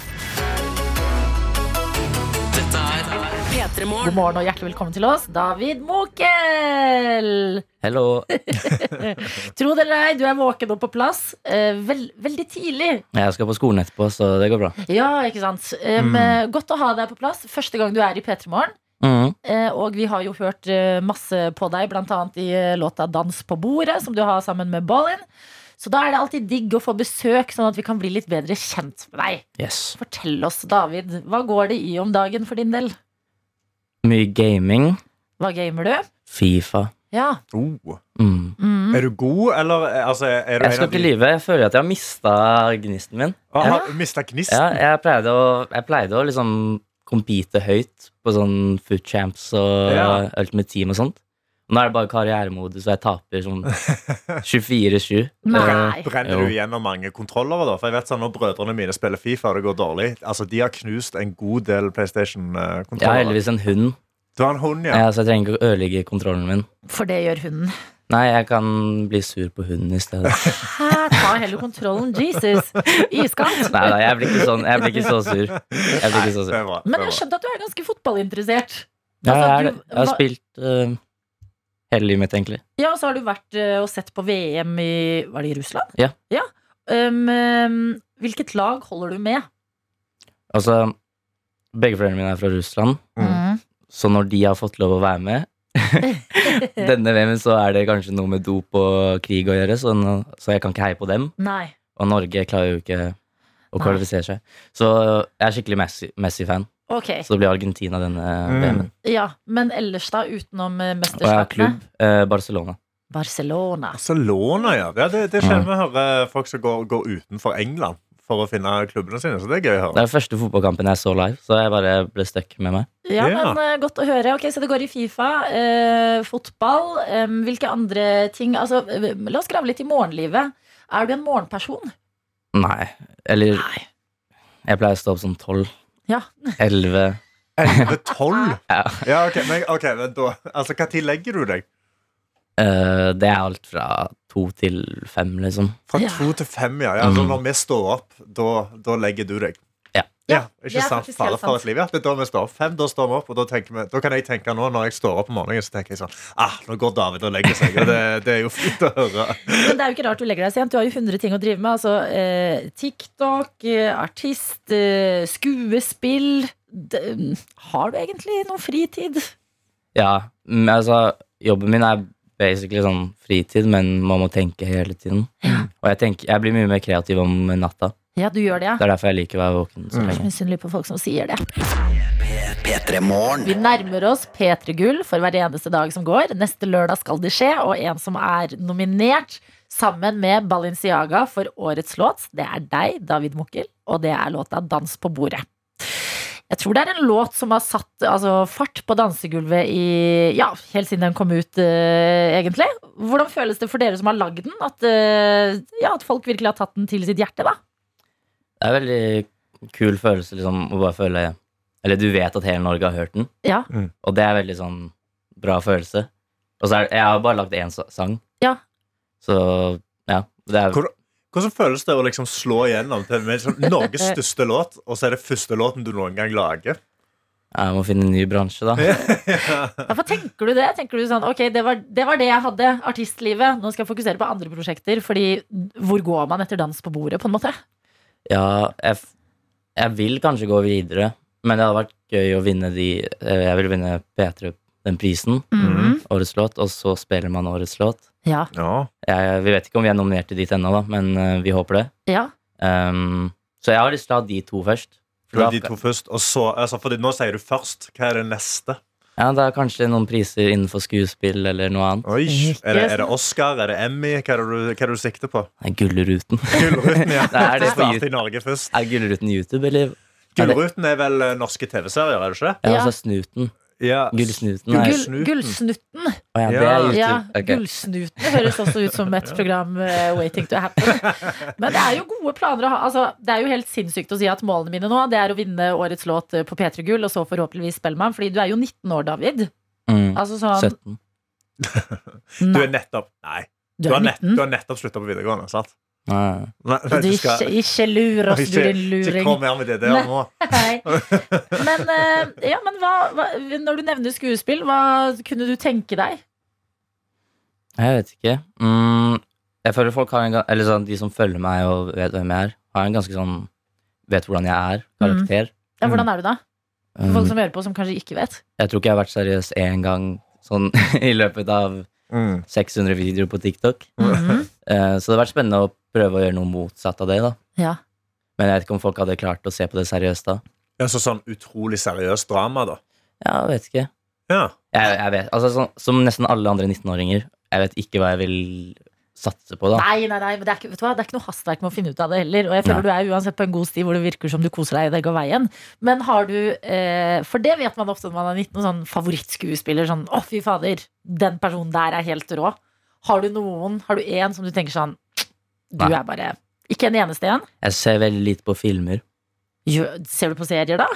B: God
A: P3morgen.
B: morgen og hjertelig velkommen til oss, David Mokel!
I: Hello.
B: Tro det eller ei, du er våken og på plass. eh, Vel, veldig tidlig.
I: Jeg skal på skolen etterpå, så det går bra.
B: Ja, ikke sant. Um, eh, Godt å ha deg på plass. Første gang du er i P3 Morgen.
I: Mhm.
C: Mm.
B: eh, Og vi har jo hørt eh, masse på deg, bl.a. i eh, låta 'Dans på bordet', som du har sammen med Ballin. Så da er det alltid digg å få besøk, sånn at vi kan bli litt bedre kjent med deg.
I: Yes.
B: Fortell oss, David, hva går det i om dagen for din del?
I: Mye gaming.
B: Hva gamer du?
I: Fifa.
B: Ja.
C: Oh.
I: Mm.
B: Mm.
C: Er du god, eller eh, altså, er du
I: Jeg skal
C: en av
I: til
C: de
I: livet. Jeg føler at jeg har mista gnisten min.
C: ah, Har mista gnisten?
I: Ja, jeg pleide å, jeg pleide å liksom compete høyt på sånn Food Champs og
C: Ja.
I: Ultimate Team og sånt. Nå er det bare karrieremodus, og jeg taper sånn Eh, 24-7.
B: Nei.
C: Brenner
I: Jo.
C: du gjennom mange kontrollere, da? For jeg vet sånn, Når brødrene mine spiller Fifa og det går dårlig Altså, De har knust en god del
I: Jeg har
C: PlayStation-kontrollere.
I: heldigvis en hund,
C: du har en hund, ja.
I: ja, så jeg trenger ikke å ødelegge kontrollen min.
B: For det gjør hunden.
I: Nei, jeg kan bli sur på hunden i stedet.
B: Hæ, ta heller kontrollen, Jesus. Iskant.
I: Nei da, jeg blir ikke sånn. Jeg blir ikke så sur. Jeg blir ikke så sur.
C: Det er bra.
B: Men
C: det er
B: jeg
C: bra.
B: skjønte at du er ganske fotballinteressert.
I: Ja, jeg,
B: Altså,
I: er,
B: du
I: det. jeg har
B: var-
I: spilt eh, hele livet mitt, egentlig.
B: Ja, og så har du vært eh, og sett på VM i Var det i Russland?
I: Ja.
B: Um, um, hvilket lag holder du med?
I: Altså, begge foreldrene mine er fra Russland, så når de har fått lov å være med denne VM-en, så er det kanskje noe med dop og krig å gjøre, så, nå, så jeg kan ikke heie på dem.
B: Nei.
I: Og Norge klarer jo ikke å
B: Nei.
I: kvalifisere seg. Så jeg er skikkelig Messi- Messi-fan,
B: Ok.
I: så det blir Argentina denne VM-en.
B: Ja, men ellers, da? Utenom eh,
I: Og jeg har
B: mesterskapene?
I: klubb, eh, Barcelona.
B: Barcelona.
C: Barcelona, ja. ja det, det
I: Mm.
C: skjer vi hører folk som går, går utenfor England for å finne klubbene sine. Så det er gøy å
I: Det
C: høre.
I: er den første fotballkampen jeg så live, så jeg bare ble stuck med meg.
B: Ja,
C: Ja.
B: men eh, godt å høre. Ok, Så det går i Fifa, eh, fotball. eh, hvilke andre ting Altså, eh, La oss grave litt i morgenlivet. Er du en morgenperson?
I: Nei. Eller
B: Nei.
I: jeg pleier å stå opp sånn tolv.
B: Ja.
I: Elleve.
C: 11-12?
I: Ja.
C: Ja, ok, men, ok, men da Altså, Når legger du deg?
I: Eh, det er alt fra to til fem, liksom.
C: Fra
B: Ja.
C: to til fem, ja. ja. Altså,
I: Mm.
C: når vi står opp, da, da legger du deg.
I: Ja.
B: det
C: ikke
B: er
C: sant?
B: faktisk
C: Fare
B: helt
C: for
B: sant.
C: et liv, ja. Det er da vi står opp. Fem, da står vi opp, og da, tenker vi, da kan jeg tenke nå, når jeg står opp om morgenen, så tenker jeg sånn Ah, nå går David og legger seg. Og det, det er jo fint å høre.
B: Men det er jo ikke rart du legger deg sent. Du har jo 100 ting å drive med. Altså, eh, TikTok, eh, artist, eh, skuespill D- mm, Har du egentlig noe fritid?
I: Ja, mm, altså Jobben min er basically sånn fritid, men man må tenke hele tiden. Og jeg, tenker, jeg blir mye mer kreativ om natta.
B: Ja, du gjør det, ja.
I: Det er derfor jeg liker å være
B: Mm.
I: våken så lenge.
B: Misunnelig på folk som sier det.
G: P3 Morgen.
B: Vi nærmer oss P3 Gull for hver eneste dag som går. Neste lørdag skal det skje, og en som er nominert sammen med Balinciaga for årets låt, det er deg, David Mukkel, og det er låta 'Dans på bordet'. Jeg tror det er en låt som har satt altså, fart på dansegulvet i Ja, helt siden den kom ut, eh, egentlig. Hvordan føles det for dere som har lagd den, at, eh, ja, at folk virkelig har tatt den til sitt hjerte, da?
I: Det er en veldig kul følelse liksom, å bare føle Eller du vet at hele Norge har hørt den,
B: Ja.
C: Mm.
I: og det er veldig sånn bra følelse. Og så er Jeg har bare lagd én sa- sang,
B: Ja.
I: så ja. Det er,
C: Hvor- Hvordan føles det å liksom slå igjennom til med liksom Norges største låt, og så er det første låten du noen gang lager?
I: jeg må finne en ny bransje, da.
B: Ja, for tenker du det? Tenker du sånn, ok, det var, det var det jeg hadde, artistlivet. Nå skal jeg fokusere på andre prosjekter. Fordi hvor går man etter dans på bordet, på en måte?
I: Ja, jeg, f- jeg vil kanskje gå videre, men det hadde vært gøy å vinne de eh, Jeg vil vinne P3 den prisen,
B: Mm.
I: årets låt, og så spiller man årets låt.
B: Ja.
C: Ja.
I: Jeg, vi vet ikke om vi er nominert til dit ennå, da, men eh, vi håper det.
B: ja.
I: Ehm, så jeg har lyst til å ha de to først. For da,
C: De to først, og så, altså, fordi nå sier du først. Hva er det neste?
I: ja, det er kanskje noen priser innenfor skuespill eller noe annet.
C: Oi, er, det, er det Oscar? Er det Emmy? Hva er det du, hva er det du sikter på?
I: Nei, Gullruten.
C: Gullruten, ja.
I: Nei, er det på
C: Start
I: YouTube?
C: i Norge først.
I: Er Gullruten YouTube, eller? Er det-
C: Gullruten er vel eh, norske TV-serier, er det ikke?
I: Ja,
B: Ja.
I: altså Snuten.
C: det? Ja.
I: Gullsnuten. Nei,
B: Gull,
C: Snuten.
B: gullsnuten.
I: å ja, det
C: Ja.
I: er YouTube.
B: Ja,
I: Ok.
B: Gullsnuten høres også ut som et program eh, Waiting to happen. Men det er jo gode planer å ha. Altså, det er jo helt sinnssykt å si at målene mine nå Det er å vinne årets låt eh, på P3 Gull, og så forhåpentligvis Spellemann. Fordi du er jo 19 år, David.
I: Mm,
B: Altså sånn
I: 17.
C: Du
B: Nei,
C: er nettopp Nei,
B: du
C: du har,
B: er
C: nett, du
B: 19.
C: har nettopp slutta på videregående, sant?
I: Nei.
C: Nei,
B: Så du ikke,
C: skal-
B: ikke lur oss, du
C: ikke-
B: din
C: ikke
B: luring.
C: kom her med det der
B: Nei.
C: nå.
B: Nei. Men, eh, ja, men hva, hva, når du nevner skuespill, hva kunne du tenke deg?
I: Jeg vet ikke. Mm, jeg føler folk har en ga- Eller sånn, de som følger meg og vet hvem jeg er, har en ganske sånn Vet hvordan jeg er. Karakter.
B: Ja,
I: Mm.
B: hvordan er du da? Mm. For
I: Um,
B: folk som hører på, som kanskje ikke vet.
I: jeg tror ikke jeg har vært seriøs én gang sånn i løpet av
C: Mm.
I: 600 videoer på TikTok.
B: Mhm.
I: Eh, så det har vært spennende å prøve å gjøre noe motsatt av det, da.
B: Ja.
I: Men jeg vet ikke om folk hadde klart å se på det seriøst da.
C: Ja, så sånn utrolig seriøst drama, da.
I: Ja, jeg vet ikke.
J: Ja.
I: Jeg, jeg vet, altså, sånn- som nesten alle andre 19-åringer, jeg vet ikke hva jeg vil satse på, da.
B: Nei, nei, nei, men det er, ikke, vet du hva? det er ikke noe hastverk med å finne ut av det heller. Og jeg føler du er uansett på en god sti hvor det virker som du koser deg, og det går veien. Men har du, eh, for det vet man ofte når man er 19, sånn favorittskuespiller, sånn å, fy fader, den personen der er helt rå. Har du noen, har du en som du tenker sånn Du
I: Nei.
B: er bare Ikke en eneste en.
I: Jeg ser veldig lite på filmer.
B: Gjør- Ser du på serier, da?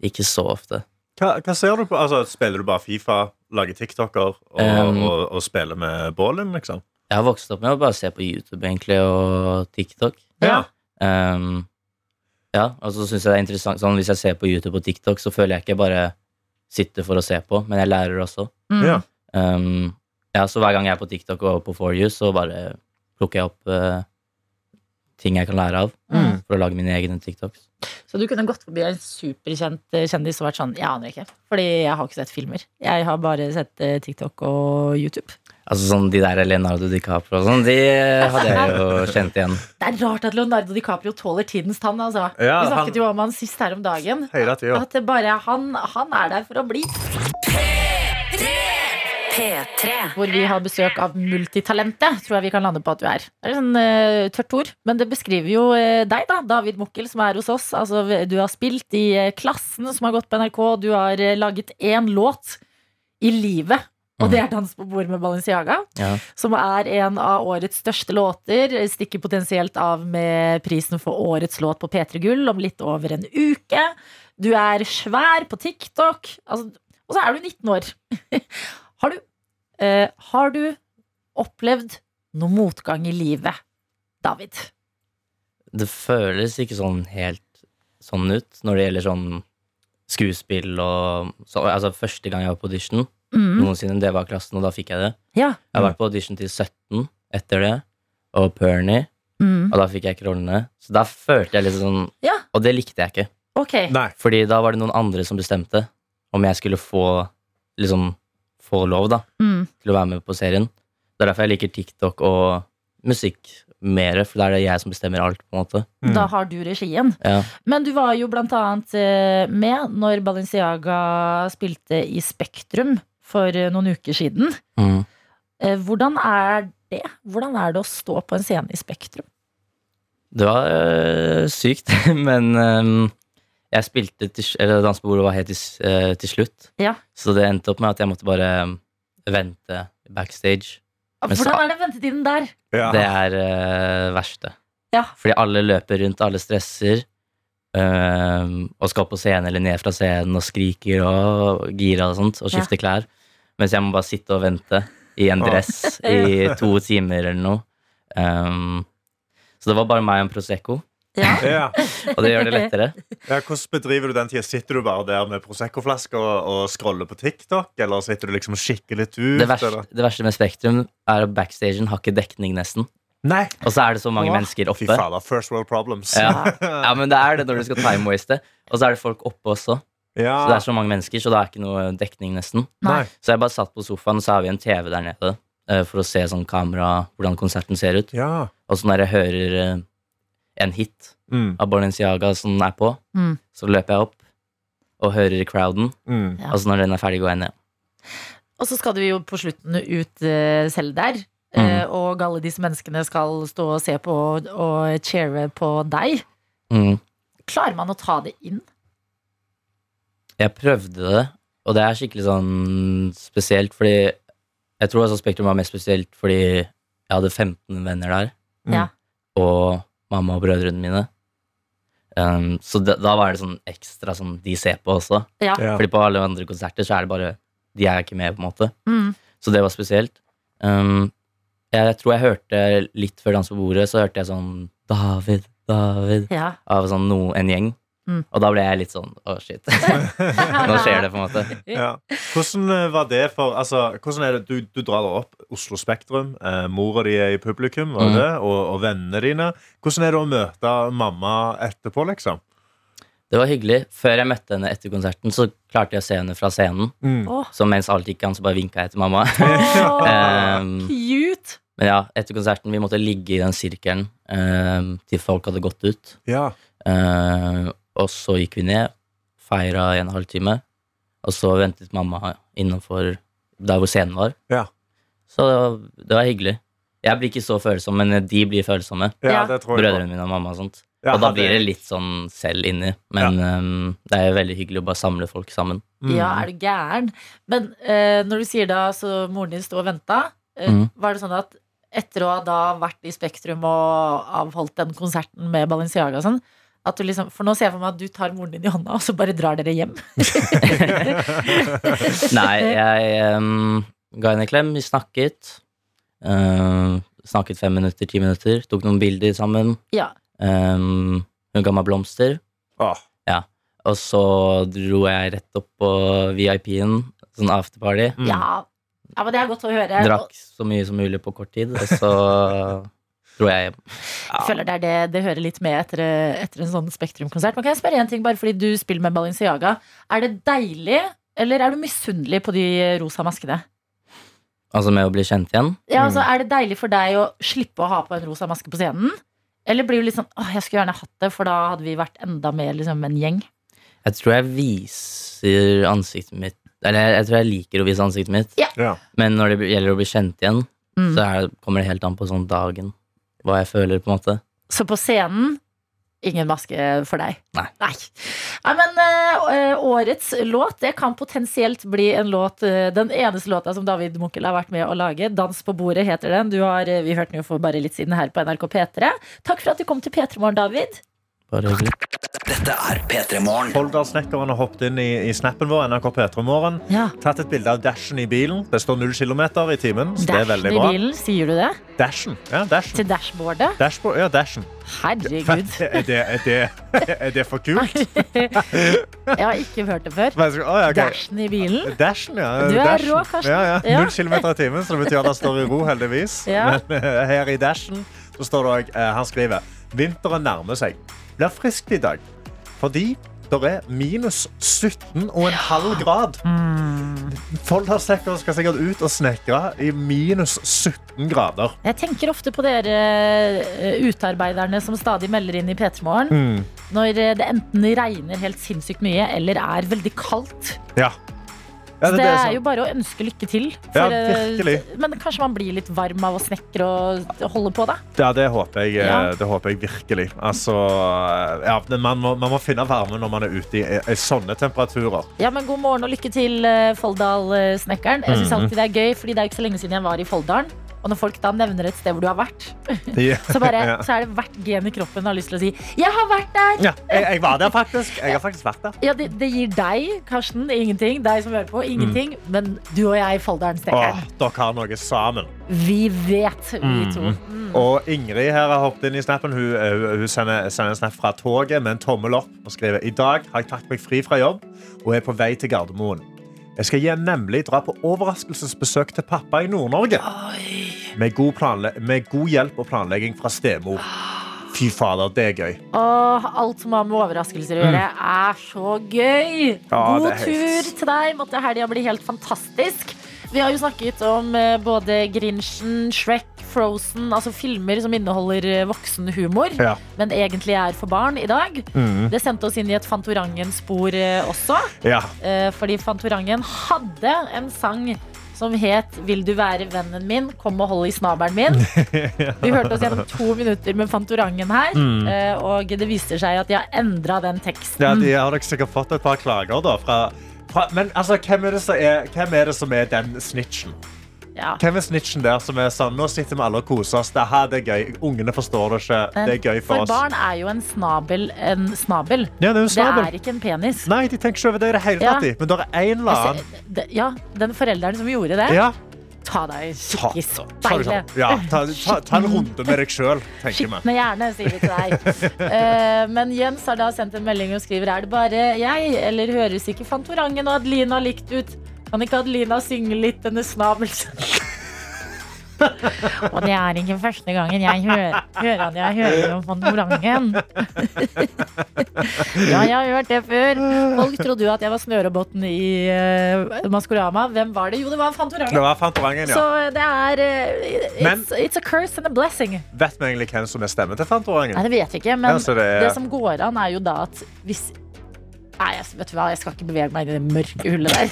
I: Ikke så ofte.
J: Hva, hva ser du på? Altså, spiller du bare Fifa, lager TikToker og,
I: Um.
J: og, og spiller med bålen, liksom?
I: Jeg har vokst opp med å bare se på YouTube egentlig og TikTok.
J: Ja.
I: Ehm, ja, og så synes jeg det er interessant sånn, Hvis jeg ser på YouTube og TikTok, så føler jeg ikke bare sitter for å se på, men jeg lærer også.
B: Mm.
J: Ja.
I: Ehm, ja, Så hver gang jeg er på TikTok og på For You, så bare plukker jeg opp eh, ting jeg kan lære av.
B: Mm.
I: For å lage mine egne TikToks.
B: Så du kunne gått forbi en superkjent eh, kjendis og vært sånn Jeg aner ikke. Fordi jeg har ikke sett filmer. Jeg har bare sett eh, TikTok og YouTube.
I: Altså sånn De der Leonardo DiCaprio og sånn, de eh, hadde jeg jo kjent igjen.
B: Det er rart at Leonardo DiCaprio tåler tidens tann, altså.
J: Ja,
B: Vi snakket
J: han-
B: jo om han sist her om dagen.
J: Hele tida.
B: At det bare er han, han er der for å bli.
A: P3.
B: Hvor vi har besøk av multitalentet, tror jeg vi kan lande på at du er. Det er et sånn eh, tørt ord, men det beskriver jo eh, deg, da. David Mokkel, som er hos oss. Altså, v- du har spilt i eh, Klassen, som har gått på NRK. Du har eh, laget én låt i livet. Og det er Dans på bord med Balenciaga,
I: Ja.
B: som er en av årets største låter. Stikker potensielt av med prisen for årets låt på P3 Gull om litt over en uke. Du er svær på TikTok. Altså, og så er du 19 år. har, du, eh, har du opplevd noe motgang i livet, David?
I: Det føles ikke sånn helt sånn ut når det gjelder sånn skuespill og så, Altså, første gang jeg var på audition
B: Mm.
I: noensinne, det var klassen, og da fikk jeg det.
B: Ja.
I: Jeg har vært på audition til 17 etter det, og Pernie,
B: Mm.
I: og da fikk jeg ikke rollene. Så da følte jeg litt sånn
B: Ja.
I: Og det likte jeg ikke.
B: Ok.
J: Nei.
I: Fordi da var det noen andre som bestemte om jeg skulle få liksom få lov, da,
B: Mm.
I: til å være med på serien. Det er derfor jeg liker TikTok og musikk mer, for da er det jeg som bestemmer alt, på en måte.
B: Da har du regien.
I: Ja.
B: Men du var jo blant annet eh, med når Balenciaga spilte i Spektrum for eh, noen uker siden.
I: Mm.
B: Eh, Hvordan er det? Hvordan er det å stå på en scene i Spektrum?
I: Det var øh, sykt, men øhm, jeg spilte til, sl- eller Dans på bordet var helt til, s- øh, til slutt.
B: Ja.
I: Så det endte opp med at jeg måtte bare øhm, vente backstage.
B: Ah,
I: Men så-
B: Hvordan er den ventetiden der?
J: Ja.
I: Det er øh, verste.
B: Ja.
I: Fordi alle løper rundt, alle stresser, øhm, og skal på scenen eller ned fra scenen og skriker og girer og sånt, og
B: Ja.
I: skifter klær. Mens jeg må bare sitte og vente i en
J: Åh.
I: dress i to timer eller noe. Øhm, så det var bare meg og en Prosecco,
J: Ja.
I: og det gjør det lettere.
J: Ja, hvordan bedriver du den tida? Sitter du bare der med Prosecco-flasker og, og scroller på TikTok? Eller sitter du liksom og kikker litt ut?
I: det, verste,
J: eller?
I: det verste med Spektrum er at backstagen har ikke dekning, nesten.
J: Nei.
I: Og så er det så mange
B: Åh,
I: mennesker
J: Fy
I: oppe.
J: fader. First World Problems.
I: Ja. ja, men det er det når du skal time-waste. Og så er det folk oppe også. Så det
J: Ja.
I: er så mange mennesker, så det er ikke noe dekning, nesten.
J: Nei.
I: Så jeg bare satt på sofaen, og så har vi en TV der nede eh, for å se sånn kamera, hvordan konserten ser ut.
J: Ja.
I: Og så når jeg hører eh, en hit
J: Mm.
I: av Balenciaga som er på,
B: Mm.
I: så løper jeg opp og hører crowden.
J: Mm.
B: Ja.
I: Og så når den er ferdig, går jeg ned.
B: Og så skal du jo på slutten ut eh, selv der.
I: Mm.
B: eh, Og alle disse menneskene skal stå og se på og, og cheere på deg.
I: Mm.
B: Klarer man å ta det inn?
I: Jeg prøvde det, og det er skikkelig sånn spesielt, fordi jeg tror altså Spektrum var mest spesielt fordi jeg hadde 15 venner der,
B: Ja.
I: og mamma og brødrene mine. Um, så da, da var det sånn ekstra sånn de ser på også.
B: Ja.
J: Ja.
I: Fordi på alle andre konserter så er det bare de er ikke med, på en måte.
B: Mm.
I: Så det var spesielt. Um, jeg tror jeg hørte litt før Dans på bordet, så hørte jeg sånn David, David,
B: ja.
I: av sånn no, en gjeng.
B: Mm.
I: Og da ble jeg litt sånn å, shit. Nå skjer det, på en måte.
J: Ja. Hvordan eh, var det for altså, hvordan er det, du, du drar deg opp, Oslo Spektrum, eh, mora di er i publikum var
I: Mm.
J: det, og, og vennene dine. Hvordan er det å møte mamma etterpå, liksom?
I: Det var hyggelig. Før jeg møtte henne etter konserten, så klarte jeg å se henne fra scenen.
J: Mm.
B: Åh,
I: Så mens alt gikk an, så bare vinka jeg til mamma. Ehm,
B: cute!
I: men ja, etter konserten, vi måtte ligge i den sirkelen ehm, til folk hadde gått ut.
J: Ja.
I: Ehm, og så gikk vi ned, feira i en halvtime. Og så ventet mamma innenfor der hvor scenen var.
K: Ja.
I: Så det var, det var hyggelig. Jeg blir ikke så følsom, men de blir følsomme.
K: Ja,
B: Ja.
K: det tror jeg.
I: Brødrene mine og mamma og sånt.
K: Ja,
I: og da
K: hadde-
I: blir det litt sånn selv inni. Men øhm, det er jo veldig hyggelig å bare samle folk sammen.
C: Mm.
J: Mm.
B: Ja, er du gæren? Men eh, når du sier da så moren din sto og venta, eh,
I: Mhm.
B: var det sånn at etter å ha da vært i Spektrum og avholdt den konserten med Balenciaga og sånn, at du liksom, for nå ser jeg for meg at du tar moren din i hånda, og så bare drar dere hjem.
I: Nei, jeg øhm, ga henne en klem, vi snakket. Øhm, snakket fem minutter, ti minutter. Tok noen bilder sammen.
B: Ja.
I: Øhm, hun ga meg blomster.
K: Åh.
I: Ja. Og så dro jeg rett opp på VIP-en, sånn afterparty.
K: Mm.
B: Ja. ja, men det er godt å høre.
I: Drakk så mye som mulig på kort tid, og så dro jeg hjem.
B: Jeg føler det er det det hører litt med etter, etter en sånn Spektrum-konsert. Men kan jeg spørre en ting, bare fordi du spiller med Balenciaga. Er det deilig, eller er du misunnelig på de rosa maskene?
I: Altså med å bli kjent igjen.
B: Ja, altså,
I: Mm.
B: Er det deilig for deg å slippe å ha på en rosa maske på scenen? Eller blir du litt sånn åh, jeg skulle gjerne hatt det, for da hadde vi vært enda mer liksom, en gjeng?
I: Jeg tror jeg viser ansiktet mitt Eller jeg, jeg tror jeg liker å vise ansiktet mitt.
B: Ja.
K: Ja.
I: Men når det gjelder å bli kjent igjen,
B: Mm.
I: så er, kommer det helt an på sånn dagen. Hva jeg føler, på en måte.
B: Så på scenen Ingen maske for deg.
I: Nei.
B: Nei. Nei, men eh, eh, årets låt Det kan potensielt bli en låt eh, den eneste låta som David Munkel har vært med å lage. 'Dans på bordet' heter den. Du har, eh, vi hørte den jo for bare litt siden her på NRK P3. Takk for at du kom til P3 Morgen, David.
I: Bare hyggelig.
L: Dette er P3 Morgen.
C: Folldalsnekkeren har hoppet inn i, i snappen vår. NRK Petremorgen.
B: Ja.
C: Tatt et bilde av dashen i bilen. Det står null kilometer i timen. Så det er veldig
B: i
C: bra.
B: bilen, sier du det?
C: Dashen. Ja, dashen.
B: Til dashboardet?
C: Dashboard, ja, dashen.
B: Herregud.
C: Er det, er det, er det for kult?
B: Jeg har ikke hørt det før.
C: Men jeg skal- Å, ja, ok.
B: Dashen i bilen.
C: Dashen, ja.
B: Du er
C: dashen.
B: rå, Karsten.
C: Ja, ja.
B: Ja.
C: Null kilometer i timen, så det betyr at han står i ro, heldigvis.
B: Ja.
C: Men eh, her i dashen så står det òg Han skriver Vinteren nærmer seg. Blir friskt i dag. Fordi det er minus 17,5 grad.
B: Mm.
C: Folldalssekker skal sikkert ut og snekre i minus 17 grader.
B: Jeg tenker ofte på dere eh, utearbeiderne som stadig melder inn i P3 Morgen.
C: Mm.
B: Når eh, det enten regner helt sinnssykt mye eller er veldig kaldt.
C: Ja. Ja,
B: Så det,
C: som-
B: er jo bare å ønske lykke til.
C: Ja,
B: eh,
C: virkelig.
B: men kanskje man blir litt varm av å snekre og holde på, da.
C: Ja, det håper jeg, eh,
B: Ja.
C: det håper jeg virkelig. Altså, ja, men man, må, man må finne varme når man er ute i, i sånne temperaturer.
B: Ja, men God morgen og lykke til, eh, Folldal-snekkeren. Jeg
C: Mm-hmm.
B: syns alltid det er gøy, fordi det er ikke så lenge siden jeg var i Folldalen. Og når folk da nevner et sted hvor du har vært,
C: Ja.
B: så, bare,
C: Ja.
B: så er det hvert gen i kroppen har lyst til å si 'Jeg har vært der'!
C: Ja, jeg, jeg var der faktisk. Jeg har faktisk vært der.
B: Ja, det, det gir deg, Karsten, ingenting. Deg som hører på, ingenting. Men du og jeg, Folldalen-snekkeren,
C: Mm. Åh, dere har noe sammen.
B: vi vet, vi to.
C: Mm-hmm. Og Ingrid her har hoppet inn i snappen. Hun, eh, hun- hun sender, sender en snap fra toget med en tommel opp og skriver I dag har jeg tatt meg fri fra jobb og er på vei til Gardermoen. Jeg skal hjem nemlig dra på overraskelsesbesøk til pappa i Nord-Norge. Med, god planle- med god hjelp og planlegging fra stemor. Fy fader, det er gøy.
B: Åh, alt som har med overraskelser å gjøre, er så gøy!
C: Mm. Ja,
B: God
C: det er
B: tur
C: helt-
B: til deg. Måtte helga bli helt fantastisk. Vi har jo snakket om eh, både Grinchen, Shrek, Frozen, altså filmer som inneholder eh, voksenhumor,
C: Ja. Mm.
B: men egentlig er for barn i dag. Det sendte oss inn i et Fantorangen-spor eh, også.
C: Ja.
B: Eh, fordi Fantorangen hadde en sang som het 'Vil du være vennen min? Kom og hold i snabelen min'. Vi hørte oss gjennom to minutter med Fantorangen her, eh, og det viser seg at de har endra den teksten.
C: Mm. Ja, de har dere sikkert fått et par klager da, fra, fra Men altså, hvem er, det som er, hvem er det som er den snitchen?
B: Ja.
C: Hvem er snitchen der som er sånn Nå sitter vi alle og koser oss. Det her det er gøy. Ungene forstår det ikke. Det er gøy for, oss.
B: barn er jo en snabel en snabel.
C: Ja, det er jo
B: Det
C: snabel.
B: er ikke en penis.
C: Nei, de tenker ikke over det i det hele
B: Ja. Altså,
C: tatt. de. Men det er en eller
B: Jeg
C: annen.
B: ser- det- Ja, den forelderen som gjorde det,
C: Ja,
B: ta deg
C: ta,
B: skikkelig
C: ta, ta, det
B: speilet.
C: sånn. ja, ta, ta, ta en runde med deg sjøl, tenker vi.
B: Skitne hjerne, sier vi til deg. Eh, men Jens har da sendt en melding og skriver Er det bare jeg, eller høres ikke Fantorangen og Adelina likt ut? Kan ikke Adelina synge litt denne snabelsen? og det er ikke første gangen jeg hører, hører han jeg hører om Fantorangen. ja, jeg har hørt det før. Folk trodde jo at jeg var Snørobotn i eh, Maskorama. Hvem var det? Jo, det var
C: Det
B: Fantorangen.
C: var Fantorangen,
B: Så
C: ja.
B: det er eh,
C: Men-
B: it's, it's a curse and a blessing.
C: Vet vi egentlig hvem som er stemmen til
B: Nei,
C: Fantorangen?
B: det vet vi ikke, men
C: Ja, så det er-
B: det som går an er jo da at hvis Nei, jeg, vet du hva, jeg skal ikke bevege meg inn i det mørke hullet der.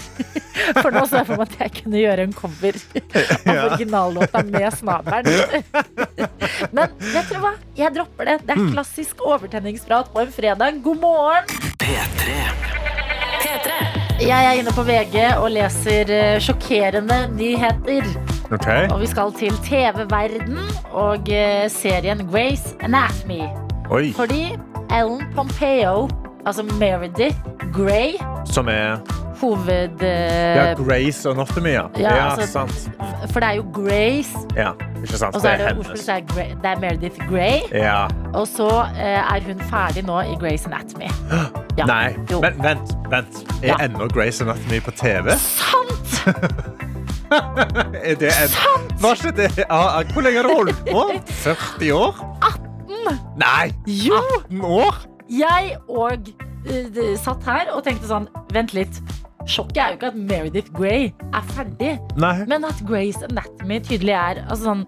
B: For nå så jeg for meg at jeg kunne gjøre en cover av originallåta med snabelen. Men vet dere hva? Jeg dropper det. Det er klassisk overtenningsprat på en fredag. God morgen!
A: P3.
B: Jeg er inne på VG og leser eh, sjokkerende nyheter.
C: Ok.
B: Og vi skal til TV-verden og eh, serien Grace Anatomy.
C: Oi.
B: Fordi Ellen Pompeo, altså Meredith Grey,
C: Som er
B: hoved... eh,
C: ja, Grace Anatomy, ja.
B: ja,
C: Ja,
B: altså-
C: sant.
B: For det er jo Grace,
C: Ja, ikke sant.
B: og så
C: Det
B: er
C: er
B: det ordspill,
C: hennes.
B: så er Grey, det er Meredith Grey.
C: Ja.
B: Og så eh, er hun ferdig nå i Grace Anatomy. Ja.
C: Nei,
B: Jo.
C: vent, vent. vent. Er
B: Ja.
C: ennå Grace Anatomy på TV?
B: Sant!
C: Er det en... Var ikke det ja, Hvor lenge har det holdt på? 40 år? 18! Nei!
B: Jo!
C: 18 år?
B: Ah, Jeg og eh, d- satt her og tenkte sånn, vent litt. Sjokket er jo ikke at Meredith Grey er ferdig,
C: Nei.
B: men at Grace Anatomy tydelig er altså sånn,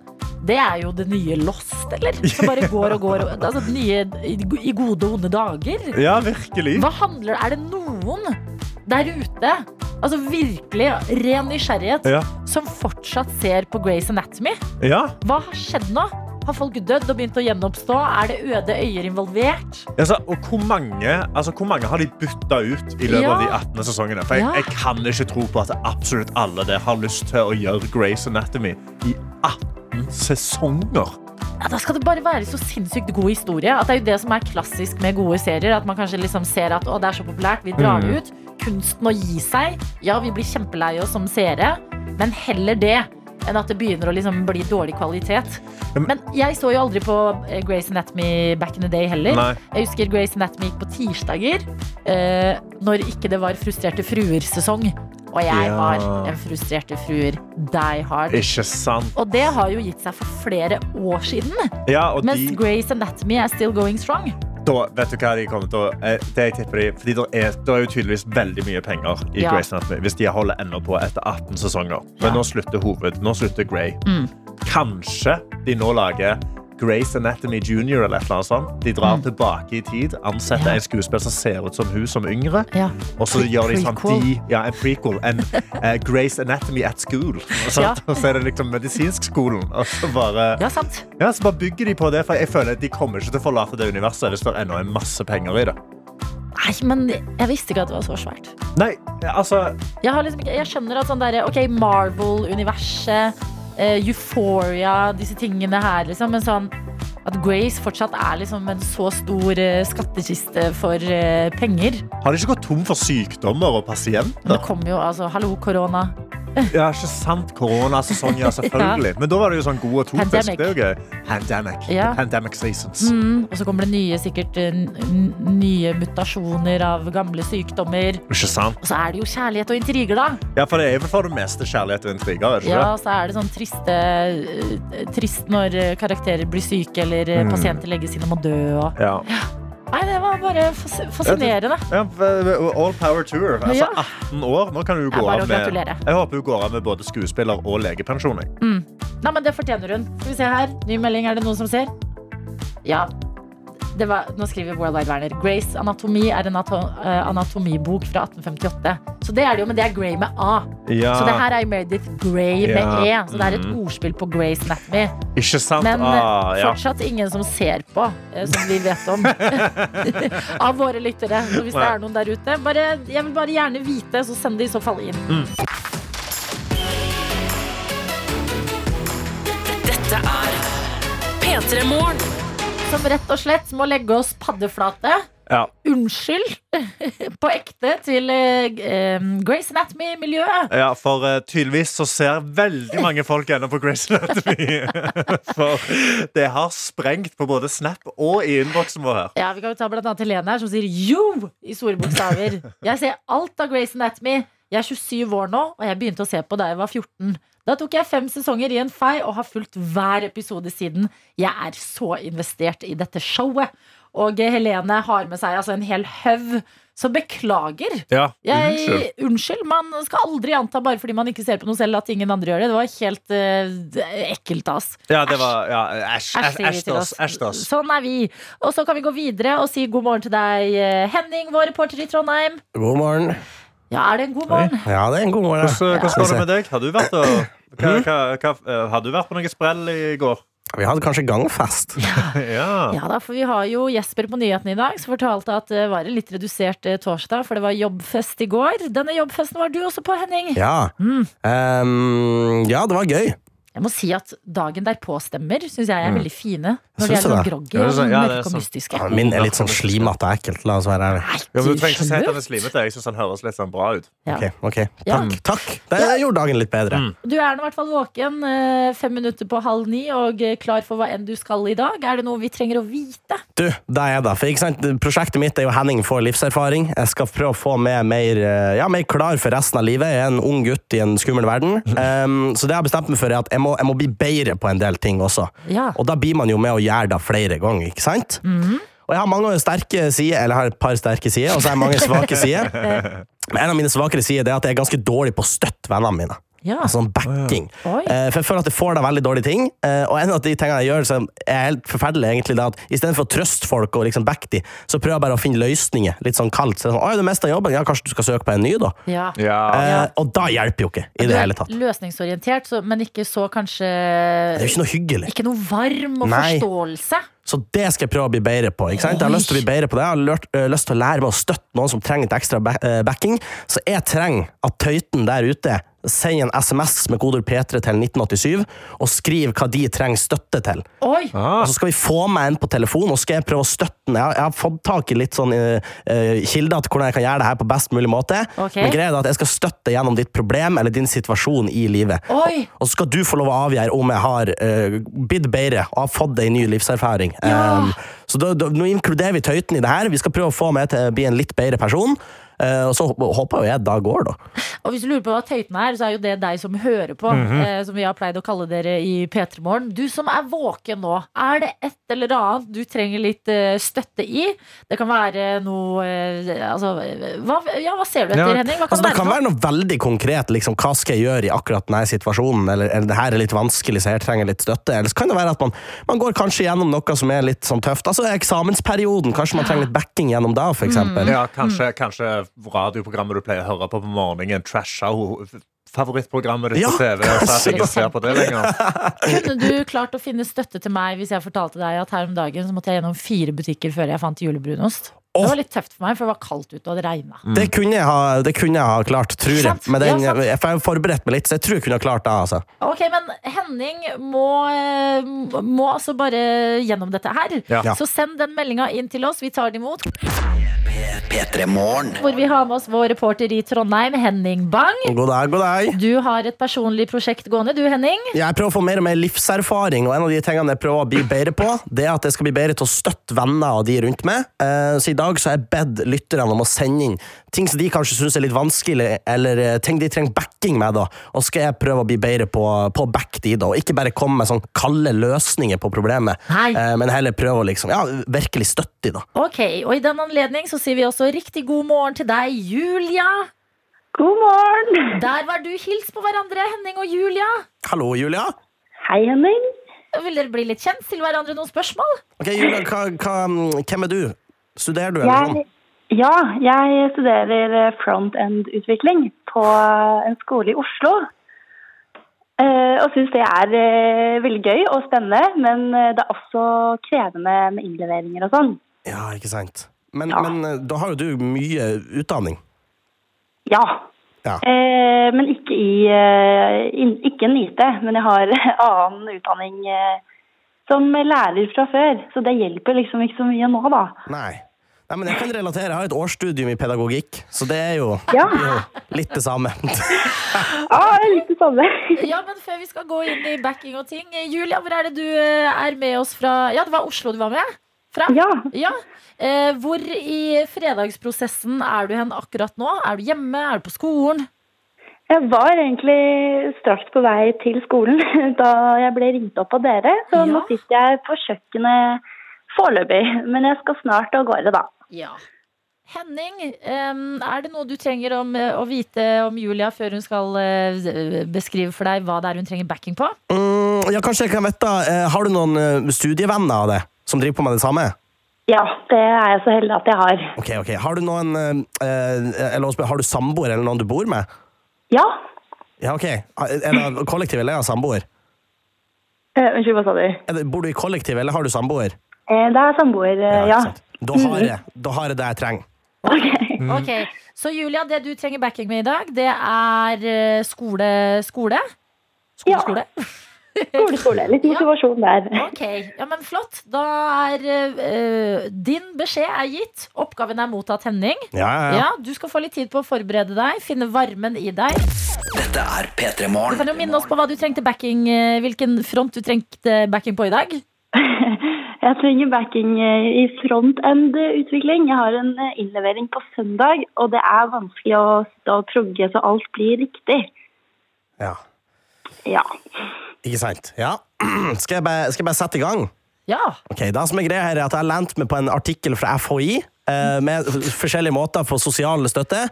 B: det er jo det nye Lost, eller? Som bare går og går. og- Altså, det nye i i gode og onde dager.
C: Ja, virkelig.
B: Hva handler Er det noen der ute, altså virkelig ren nysgjerrighet,
C: Ja.
B: som fortsatt ser på Grace Anatomy?
C: Ja.
B: Hva har skjedd nå? Har folk dødd og begynt å gjenoppstå? Er det øde øyer involvert?
C: Altså, og hvor mange, altså, hvor mange har de bytta ut i løpet
B: Ja.
C: av de 18 sesongene? For jeg,
B: Ja.
C: jeg kan ikke tro på at absolutt alle der har lyst til å gjøre Grace Anatomy i 18 sesonger.
B: Ja, da skal det bare være så sinnssykt god historie. At det er jo det som er klassisk med gode serier. At man kanskje liksom ser at å, det er så populært, vi drar
C: Mm.
B: det ut. Kunsten å gi seg. Ja, vi blir kjempelei oss som seere, men heller det enn at det begynner å liksom bli dårlig kvalitet.
C: Ja, men-
B: Men jeg så jo aldri på eh, Grey's Anatomy back in the day heller.
C: Nei.
B: Jeg husker Grey's Anatomy gikk på tirsdager eh, når ikke det var Frustrerte fruer-sesong. Og jeg
C: Ja.
B: var en frustrerte fruer die hard.
C: Ikke sant?
B: Og det har jo gitt seg for flere år siden.
C: Ja, og
B: Mens
C: de,
B: Grey's Anatomy er still going strong.
C: da, vet du hva de kommer til å eh, Det jeg tipper de Fordi det er, det er jo tydeligvis veldig mye penger i
B: Ja.
C: Grace Anatomy hvis de holder ennå på etter 18 sesonger. Men
B: Ja. Mm.
C: nå slutter hoved. Nå slutter Grey. Kanskje de nå lager Grace Anatomy Junior eller et eller annet sånt. De drar tilbake i tid, ansetter
B: Mm. Ja.
C: en skuespiller som ser ut som hun som yngre.
B: Ja.
C: Og så gjør de sånn
B: Prequel.
C: de, ja, en prequel. En eh, Grace Anatomy at school. Og, sånt.
B: Ja.
C: og så er det liksom medisinskskolen. Og så bare
B: Ja, sant.
C: ja, så bare bygger de på det, for jeg føler at de kommer ikke til å forlate det universet hvis det er enda en masse penger i det.
B: Nei, men jeg visste ikke at det var så svært.
C: Nei, altså,
B: Jeg, har liksom ikke, jeg skjønner at sånn derre OK, Marvel-universet, eh, Euphoria, disse tingene her, liksom. Men sånn at Grace fortsatt er liksom en så stor eh, skattkiste for eh, penger.
C: har de ikke gått tom for sykdommer og pasienter?
B: Men det kommer jo altså Hallo, korona.
C: Ja, ikke sant, koronasesong, ja, selvfølgelig. Men da var det jo sånn god og topisk,
B: Pandemic.
C: det er jo gøy. Pandemic.
B: Ja.
C: Pandemic seasons.
B: Mm, og så kommer det nye, sikkert eh, n- nye mutasjoner av gamle sykdommer.
C: Ikke sant?
B: Og så er det jo kjærlighet og intriger, da.
C: Ja, for det er vel for det meste kjærlighet og intriger, er det ikke
B: Ja, så er det sånn triste eh, Trist når eh, karakterer blir syke Eller eh, pasienter legges inn og må dø og...
C: det? Ja.
B: Nei, det var bare fas fascinerende
C: Ja, all power to her. Altså,
B: Ja.
C: 18 år, nå kan du jo
B: Ja,
C: gå
B: bare
C: av
B: å
C: med...
B: gratulere.
C: Jeg håper hun går av med både skuespiller og legepensjon. jeg.
B: Nei, men det fortjener hun Skal vi se her, ny melding, er det noen som ser? Ja det var, nå skriver World Wide Werner Grace anatomi er en ato- eh, anatomibok fra 1858 Så det er det jo, men det er Grey med A
C: Ja,
B: Så det her er jo Meredith Grey med
C: Ah. Ja,
B: E Så det er et ordspill på Grey's Anatomy
C: ikke sant?
B: Men eh,
C: ah, ja.
B: fortsatt ingen som ser på, eh, som vi vet om. Av våre lyttere. Så hvis det
C: Nei.
B: er noen der ute, bare, jeg vil bare gjerne vite, så send det i så fall inn.
C: Mm.
A: Dette er P3 Morgen.
B: Som rett og slett må legge oss paddeflate.
C: Ja.
B: Unnskyld på ekte til eh, Grace Anatomy-miljøet.
C: Ja, for eh, tydeligvis så ser veldig mange folk ennå på Grace Anatomy. for det har sprengt på både Snap og i innboksen vår her.
B: Ja, Vi kan jo ta blant annet Helene her, som sier jo i store bokstaver. Jeg ser alt av Grace Anatomy. Jeg er 27 år nå, og jeg begynte å se på da jeg var 14. Da tok jeg fem sesonger i en fei og har fulgt hver episode siden. Jeg er så investert i dette showet. Og Helene har med seg altså, en hel haug. Så beklager.
C: Ja,
B: Jeg,
C: unnskyld.
B: unnskyld. Man skal aldri anta bare fordi man ikke ser på noe selv, at ingen andre gjør det. Det var helt eh, ekkelt av oss.
C: Ja, det var ja, Æsj,
B: Æsj, sier vi
C: æsj,
B: til
C: æsj, æsj,
B: oss.
C: æsj.
B: Sånn er vi. Og så kan vi gå videre og si god morgen til deg, eh, Henning, vår reporter i Trondheim.
M: God morgen.
B: Ja, er det en god morgen?
M: Ja, det er en god morgen. da.
C: Hvordan, hvordan går det med deg? Har du vært, og, hva, hva, hva, eh, har du vært på noe sprell i går?
M: Vi hadde kanskje gangfest.
C: Ja.
B: Ja da, for vi har jo Jesper på nyhetene i dag, som fortalte at det var en litt redusert eh, torsdag, for det var jobbfest i går. Denne jobbfesten var du også på, Henning.
M: Ja.
C: Mm.
M: Ehm, ja, det var gøy.
B: Jeg må si at dagen derpå-stemmer syns jeg er veldig fine. Når de er
M: Syns du
B: sånn
M: Mm. det?
B: groggy
C: Ja, det
B: og
C: er sånn-
B: sånn
C: ja, det er
B: mørke og
C: sånn-
B: mystiske.
M: Ja, Min er litt sånn slimete og ekkelt. La oss være ærlig.
B: Nei,
C: Ja, men du trenger ikke si at den
B: skjønner.
C: er slimete. Jeg syns den høres litt sånn bra ut.
B: Ja.
M: Ok, ok.
B: Ja.
M: Takk. takk. Det gjorde dagen litt bedre.
B: Du er nå i hvert fall våken eh, fem minutter på halv ni og eh, klar for hva enn du skal i dag. Er det noe vi trenger å vite?
M: Du, det er det. For ikke sant? Prosjektet mitt er jo Henning får livserfaring. Jeg skal prøve å få meg mer, eh, ja, mer klar for resten av livet. Jeg er en ung gutt i en skummel verden. Ehm, så det jeg har bestemt meg for, er at jeg må, jeg må bli bedre på en del ting også.
B: Ja. Mhm.
M: Og da blir man jo med å gjøre det flere ganger, ikke sant? Og jeg har mange sterke sider, eller jeg har et par sterke sider, og så har jeg mange svake sider. Men en av mine svakere sider det er at jeg er ganske dårlig på å støtte vennene mine.
B: Ja.
M: Altså sånn backing.
B: Oi.
M: Eh, for jeg føler at jeg får da veldig dårlige ting. eh, og en av de tingene jeg gjør som er helt forferdelig, egentlig, det er at istedenfor å trøste folk og liksom backe de, så prøver jeg bare å finne løsninger. Litt sånn kaldt. Så det er sånn, Oi, du mista jobben. Ja, kanskje du skal søke på en ny, da?
B: Ja.
C: Ja.
M: Eh, og da hjelper jo ikke, i
B: Du
M: det
B: er
M: hele tatt. Det
B: løsningsorientert, så, men ikke så kanskje
M: er jo ikke noe hyggelig.
B: Ikke noe varm og
M: Nei.
B: forståelse.
M: Så det skal jeg prøve å bli bedre på. Ikke sant? Jeg har lyst til å bli bedre på det Jeg har lørt, øh, lyst til å lære meg å støtte noen som trenger litt ekstra ba- øh, backing. Så jeg trenger at tøyten der ute sender en SMS med kodeord P3 til 1987 og skriver hva de trenger støtte til.
B: Oi!
M: Og så skal vi få meg en på telefon, og skal jeg prøve å støtte den. Jeg har, jeg har fått tak i litt sånn øh, øh, kilder til hvordan jeg kan gjøre det her på best mulig måte.
B: Ok.
M: Men greia er at jeg skal støtte gjennom ditt problem eller din situasjon i livet.
B: Oi!
M: Og så skal du få lov å avgjøre om jeg har eh, blitt bedre og har fått ei ny livserfaring.
B: Ja.
M: Um, så da, da, nå inkluderer vi tøyten i det her. Vi skal prøve å få meg til å bli en litt bedre person. Eh, og så hå- håper jo jeg da går, da.
B: Og hvis du lurer på hva tøyten er, så er jo det deg som hører på.
M: Mhm.
B: eh, som vi har pleid å kalle dere i P3 Morgen. Du som er våken nå, er det et eller annet du trenger litt eh, støtte i? Det kan være noe eh, Altså, eh, hva, ja, hva ser du etter,
C: Ja.
B: Henning? Hva kan
M: Altså, det
B: det være? for
M: kan
B: noe?
M: være noe veldig konkret. Liksom, hva skal jeg gjøre i akkurat denne situasjonen? Eller, eller det her er litt vanskelig, så her trenger jeg litt støtte. Eller så kan det være at man, man går kanskje gjennom noe som er litt sånn tøft. Altså eksamensperioden. Kanskje man trenger litt backing gjennom det, for eksempel.
B: Mm,
C: Ja, kanskje, kanskje radioprogrammet du pleier å høre på på morgenen, trasha ho- favorittprogrammet ditt
M: Ja,
C: på TV. Så at jeg ikke ser på det lenger.
B: Kunne du klart å finne støtte til meg hvis jeg fortalte deg at her om dagen så måtte jeg gjennom fire butikker før jeg fant julebrunost? Det
M: Åh.
B: var litt tøft for meg, for det var kaldt ute og det regna.
M: Det kunne jeg ha, det kunne jeg ha klart, tror jeg.
B: Sant?
M: Men den,
B: Ja, sant.
M: jeg har forberedt meg litt, så jeg tror jeg kunne ha klart det. Altså.
B: Ok, men Henning må, eh, må altså bare gjennom dette her.
M: Ja.
B: Så send den meldinga inn til oss. Vi tar den imot.
N: P3 Morgen.
B: Hvor vi har med oss vår reporter i Trondheim, Henning Bang.
M: God dag, god dag.
B: Du har et personlig prosjekt gående, du Henning.
M: Jeg prøver å få mer og mer livserfaring, og en av de tingene jeg prøver å bli bedre på, det er at jeg skal bli bedre til å støtte venner og de rundt meg. Eh, Så i dag så har jeg bedt lytterne om å sende inn ting som de kanskje syns er litt vanskelig, eller eh, ting de trenger backing med, da. Og så skal jeg prøve å bli bedre på, på å backe de, da. Og ikke bare komme med sånn kalde løsninger på problemet,
B: Nei.
M: Eh, men heller prøve å liksom, ja, virkelig støtte de, da.
B: Ok, og I den anledning så sier vi også riktig god morgen til deg, Julia.
F: God morgen!
B: Der var du. Hils på hverandre, Henning og Julia.
M: Hallo, Julia.
F: Hei, Henning.
B: Vil dere bli litt kjent? Stille hverandre noen spørsmål?
M: Ok, Julia, hva, hva, hvem er du? Studerer du, eller
F: Jeg,
M: sånn?
F: ja, jeg studerer eh, front-end-utvikling på en skole i Oslo. Eh, Og syns det er eh, veldig gøy og spennende, men eh, det er også krevende med innleveringer og sånn.
M: Ja, ikke sant. Men,
F: Ja.
M: men eh, da har jo du mye utdanning.
F: Ja.
M: Ja.
F: Eh, Men ikke i eh, in- ikke en IT, men jeg har annen utdanning eh, som lærer fra før. Så det hjelper liksom ikke så mye nå, da.
M: Nei. Nei, men jeg kan relatere. Jeg har et årsstudium i pedagogikk, så det er jo,
F: Ja.
M: det er jo litt det samme.
F: Ah, litt det samme.
B: Ja, men Før vi skal gå inn i backing og ting. eh, Julia, hvor er det du eh, er med oss fra? Ja, det var Oslo du var med? Fra?
F: Ja.
B: Ja. Eh, hvor i fredagsprosessen er du hen akkurat nå? Er du hjemme? Er du på skolen?
F: Jeg var egentlig straks på vei til skolen da jeg ble ringt opp av dere. Så
B: Ja.
F: nå sitter jeg på kjøkkenet Foreløpig. Men jeg skal snart av gårde, da.
B: Ja. Henning, em, er det noe du trenger om, eh, å vite om Julia før hun skal eh, beskrive for deg hva det er hun trenger backing på?
M: Mm, ja, kanskje jeg kan vite, eh, har du noen eh, studievenner av det, som driver på med det samme?
F: Ja, det er jeg så heldig at jeg har.
M: Ok, ok. Har du noen, eh, eh, eller også, har du samboer eller noen du bor med?
F: Ja.
M: Ja, ok. Er det kollektiv eller er det samboer?
F: Eh, Unnskyld, hva sa du?
M: Er det, bor du i kollektiv eller har du samboer?
F: Eh, Det er samboer, eh,
M: ikke
F: ja. Mm-hmm.
M: sant. Da har jeg, da har jeg det jeg trenger.
F: Ok.
B: Ok, Så Julia, det du trenger backing med i dag, det er eh, skole, skole? Skole,
F: Ja.
B: skole?
F: Skole, skole. Litt motivasjon der.
B: Ok, ja, men flott. Da er eh, din beskjed er gitt. Oppgaven er mottatt, Henning.
M: Ja, ja, ja.
B: Ja, Du skal få litt tid på å forberede deg, finne varmen i deg.
G: Dette er P3
B: Du kan
G: Morgen.
B: jo minne oss på hva du trengte backing eh, hvilken front du trengte backing på i dag.
F: Jeg trenger backing eh, i frontend-utvikling. Jeg har en eh, innlevering på søndag, og det er vanskelig å sitte og progge så alt blir riktig.
M: ja.
F: Ja.
M: Ikke sant? Ja. Skal jeg, bare, skal jeg bare sette i gang?
B: Ja.
M: Ok, det som er greia her er at Jeg har lent meg på en artikkel fra FHI eh, med forskjellige måter for sosial støtte.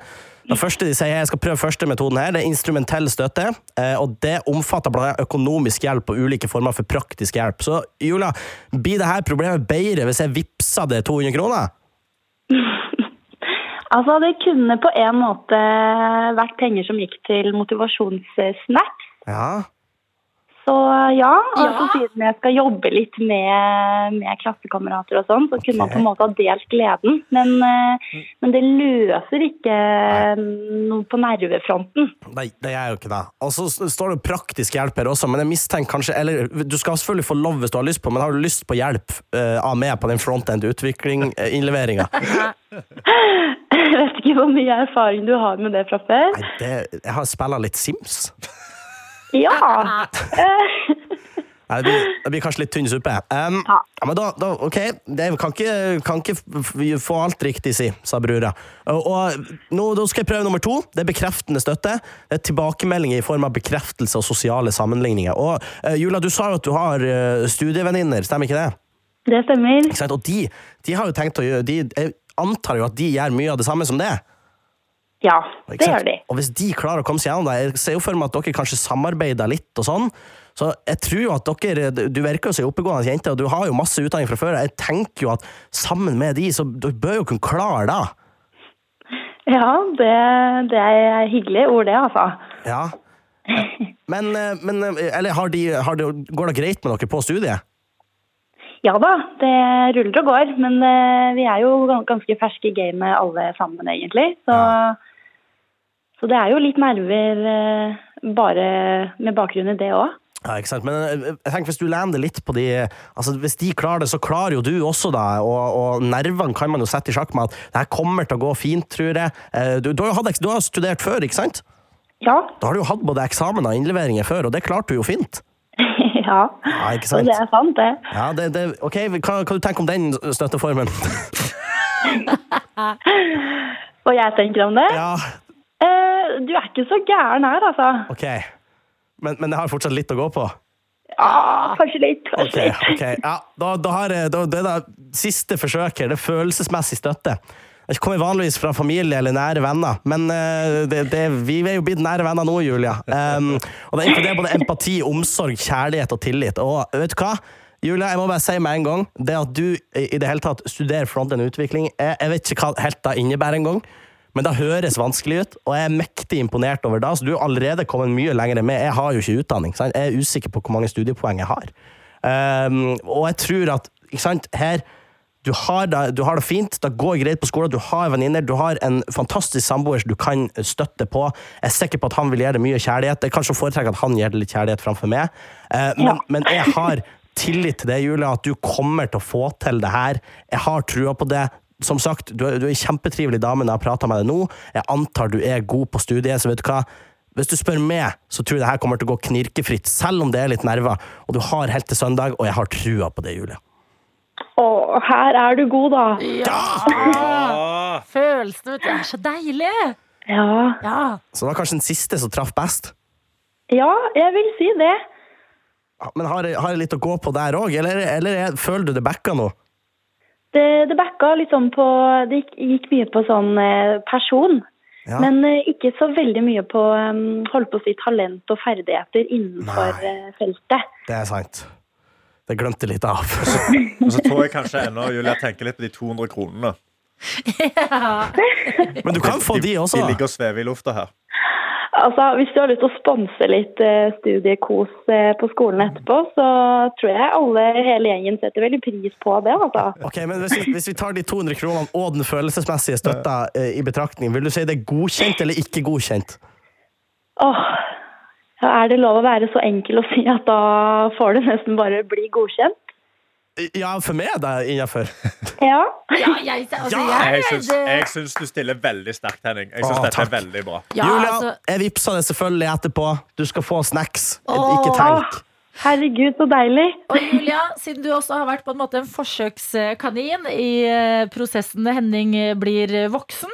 M: Det første de sier, Jeg skal prøve første metoden her, det er instrumentell støtte. eh, og Det omfatter blant annet økonomisk hjelp og ulike former for praktisk hjelp. Så Julia, blir det her problemet bedre hvis jeg vippser det 200 kroner?
F: Altså, det kunne på en måte vært penger som gikk til motivasjonssnacks.
M: Ja.
F: Så ja, altså
B: Ja.
F: siden jeg skal jobbe litt med, med klassekamerater og sånn, så kunne man på en måte ha delt gleden. Men, eh, men det løser ikke noe på nervefronten.
M: Nei, det gjør jeg jo ikke det. Og så s- står det praktisk hjelp her også, men jeg mistenker kanskje Eller du skal selvfølgelig få lov hvis du har lyst på, men har du lyst på hjelp eh, av meg på den eh, frontend-utvikling-innleveringa?
F: Jeg vet ikke hvor mye erfaring du har med det fra før.
M: Nei, det, jeg har spilla litt Sims.
F: Ja! Eh,
M: Nei, det, blir, det blir kanskje litt tynn suppe. Um, ja.
F: Ja.
M: men da, da, ok, det kan ikke, kan ikke f- f- få alt riktig, si, sa brura. Og, og nå, da skal jeg prøve nummer to. Det er bekreftende støtte. Det er tilbakemeldinger i form av bekreftelse og sosiale sammenligninger. Og eh, Julia, du sa jo at du har eh, studievenninner, stemmer ikke det?
F: det stemmer.
M: Ikke sant? Og de, de har jo tenkt å gjøre, de, jeg antar jo at de gjør mye av det samme som det.
F: Ja,
M: Ikke
F: det
M: sant?
F: gjør de.
M: Og hvis de klarer å komme seg gjennom det, jeg ser jo for meg at dere kanskje samarbeider litt og sånn. Så jeg tror jo at dere, Du virker jo som en oppegående jente, og du har jo masse utdanning fra før. Jeg tenker jo at sammen med de, så dere bør jo kunne klare det.
F: Ja, det, det er hyggelige ord, det, altså.
M: Ja. Men, eh, men eh, Eller har de, har de, går det greit med dere på studiet?
F: Ja da, det ruller og går. Men eh, vi er jo gan- ganske ferske i gamet alle sammen, egentlig. Så, så det er jo litt nerver eh, bare med bakgrunn i det òg.
M: Ja, ikke sant? Men eh, jeg tenker hvis du lander litt på de altså Hvis de klarer det, så klarer jo du også det. Og, og nervene kan man jo sette i sjakk med at det her kommer til å gå fint, tror jeg. Eh, Du, du, har, jo hatt eks- du har studert før, ikke sant?
F: Ja.
M: Da har du jo hatt både eksamen og innleveringer før, og det klarte du jo fint.
F: ja.
M: Ja, ikke
F: Så
M: sant?
F: det er sant, det.
M: Ja, det, det, ok, hva, hva du tenker om den støtteformen?
F: Og jeg tenker om det.
M: ja,
F: Eh, du er ikke så gæren her, altså.
M: ok. Men, men jeg har fortsatt litt å gå på.
F: Ja, kanskje litt.
M: Ok,
F: Kanskje litt.
M: Ah. ok. Ja, da, da har jeg, da, det er da siste forsøk her, det er følelsesmessig støtte. Jeg kommer vanligvis fra familie eller nære venner, men eh, det, det, vi er jo blitt nære venner nå, Julia. Em, og det inkluderer både empati, omsorg, kjærlighet og tillit. Og vet du hva? Julia, jeg må bare si med en gang, det at du i i det hele tatt studerer frontend utvikling, jeg, jeg vet ikke hva helt det innebærer en gang, men det høres vanskelig ut, og jeg er mektig imponert over det. Så du er allerede kommet mye lenger enn meg. Jeg har jo ikke utdanning, sant? jeg er usikker på hvor mange studiepoeng jeg har. Um, og jeg tror at ikke sant, her du har, det, du har det fint, det går greit på skolen, du har venninner, du har en fantastisk samboer som du kan støtte på. Jeg er sikker på at han vil gjøre det mye kjærlighet. Jeg kanskje foretrekker at han gjør det litt kjærlighet framfor meg. Eh, men,
F: Ja.
M: men jeg har tillit til det, Julia, at du kommer til å få til det her. Jeg har trua på det. Som sagt, du er, du er en kjempetrivelig dame når jeg har prata med deg nå. Jeg antar du er god på studiet, så vet du hva. Hvis du spør meg, så tror jeg det her kommer til å gå knirkefritt, selv om det er litt nerver. Og du har helt til søndag, og jeg har trua på det, Julia.
F: Å, her er du god, da.
B: Følelsene, vet du. Det er så deilig!
F: Ja.
B: Ja.
M: Så det var kanskje den siste som traff best.
F: ja, jeg vil si det.
M: Men har jeg, har jeg litt å gå på der òg, eller, eller er- føler du det backa nå?
F: Det, det backa litt sånn på Det gikk, gikk mye på sånn eh, person.
M: Ja.
F: Men eh, ikke så veldig mye på um, holdt på å si talent og ferdigheter innenfor
M: Nei.
F: eh, feltet.
M: Det er sant. Det glemte litt av.
C: Og så tror jeg kanskje ennå Julia tenker litt på de 200 kronene.
M: Men du kan få de også.
C: De ligger og svever i lufta her.
F: Altså, Hvis du har lyst til å sponse litt eh, studiekos eh, på skolen etterpå, så tror jeg alle, hele gjengen setter veldig pris på det. altså.
M: Ok, men hvis vi, hvis vi tar de 200 kronene og den følelsesmessige støtta eh, i betraktning, vil du si det er godkjent eller ikke godkjent?
F: Åh, ja, Er det lov å være så enkel å si at da får du nesten bare bli godkjent?
M: I- Ja, for meg er det innafor.
F: Ja.
B: Ja, jeg, altså, jeg,
C: Jeg syns,
B: det-
C: jeg syns du stiller veldig sterkt, Henning. Jeg syns
M: Å,
C: dette er
M: takk.
C: veldig bra.
B: ja,
M: Julia,
B: altså,
M: jeg vippsa det selvfølgelig etterpå. Du skal få snacks.
B: Åh.
M: Ikke tenk.
F: Herregud, så deilig.
B: og Julia, siden du også har vært på en måte en forsøkskanin i eh, prosessen Henning eh, blir voksen,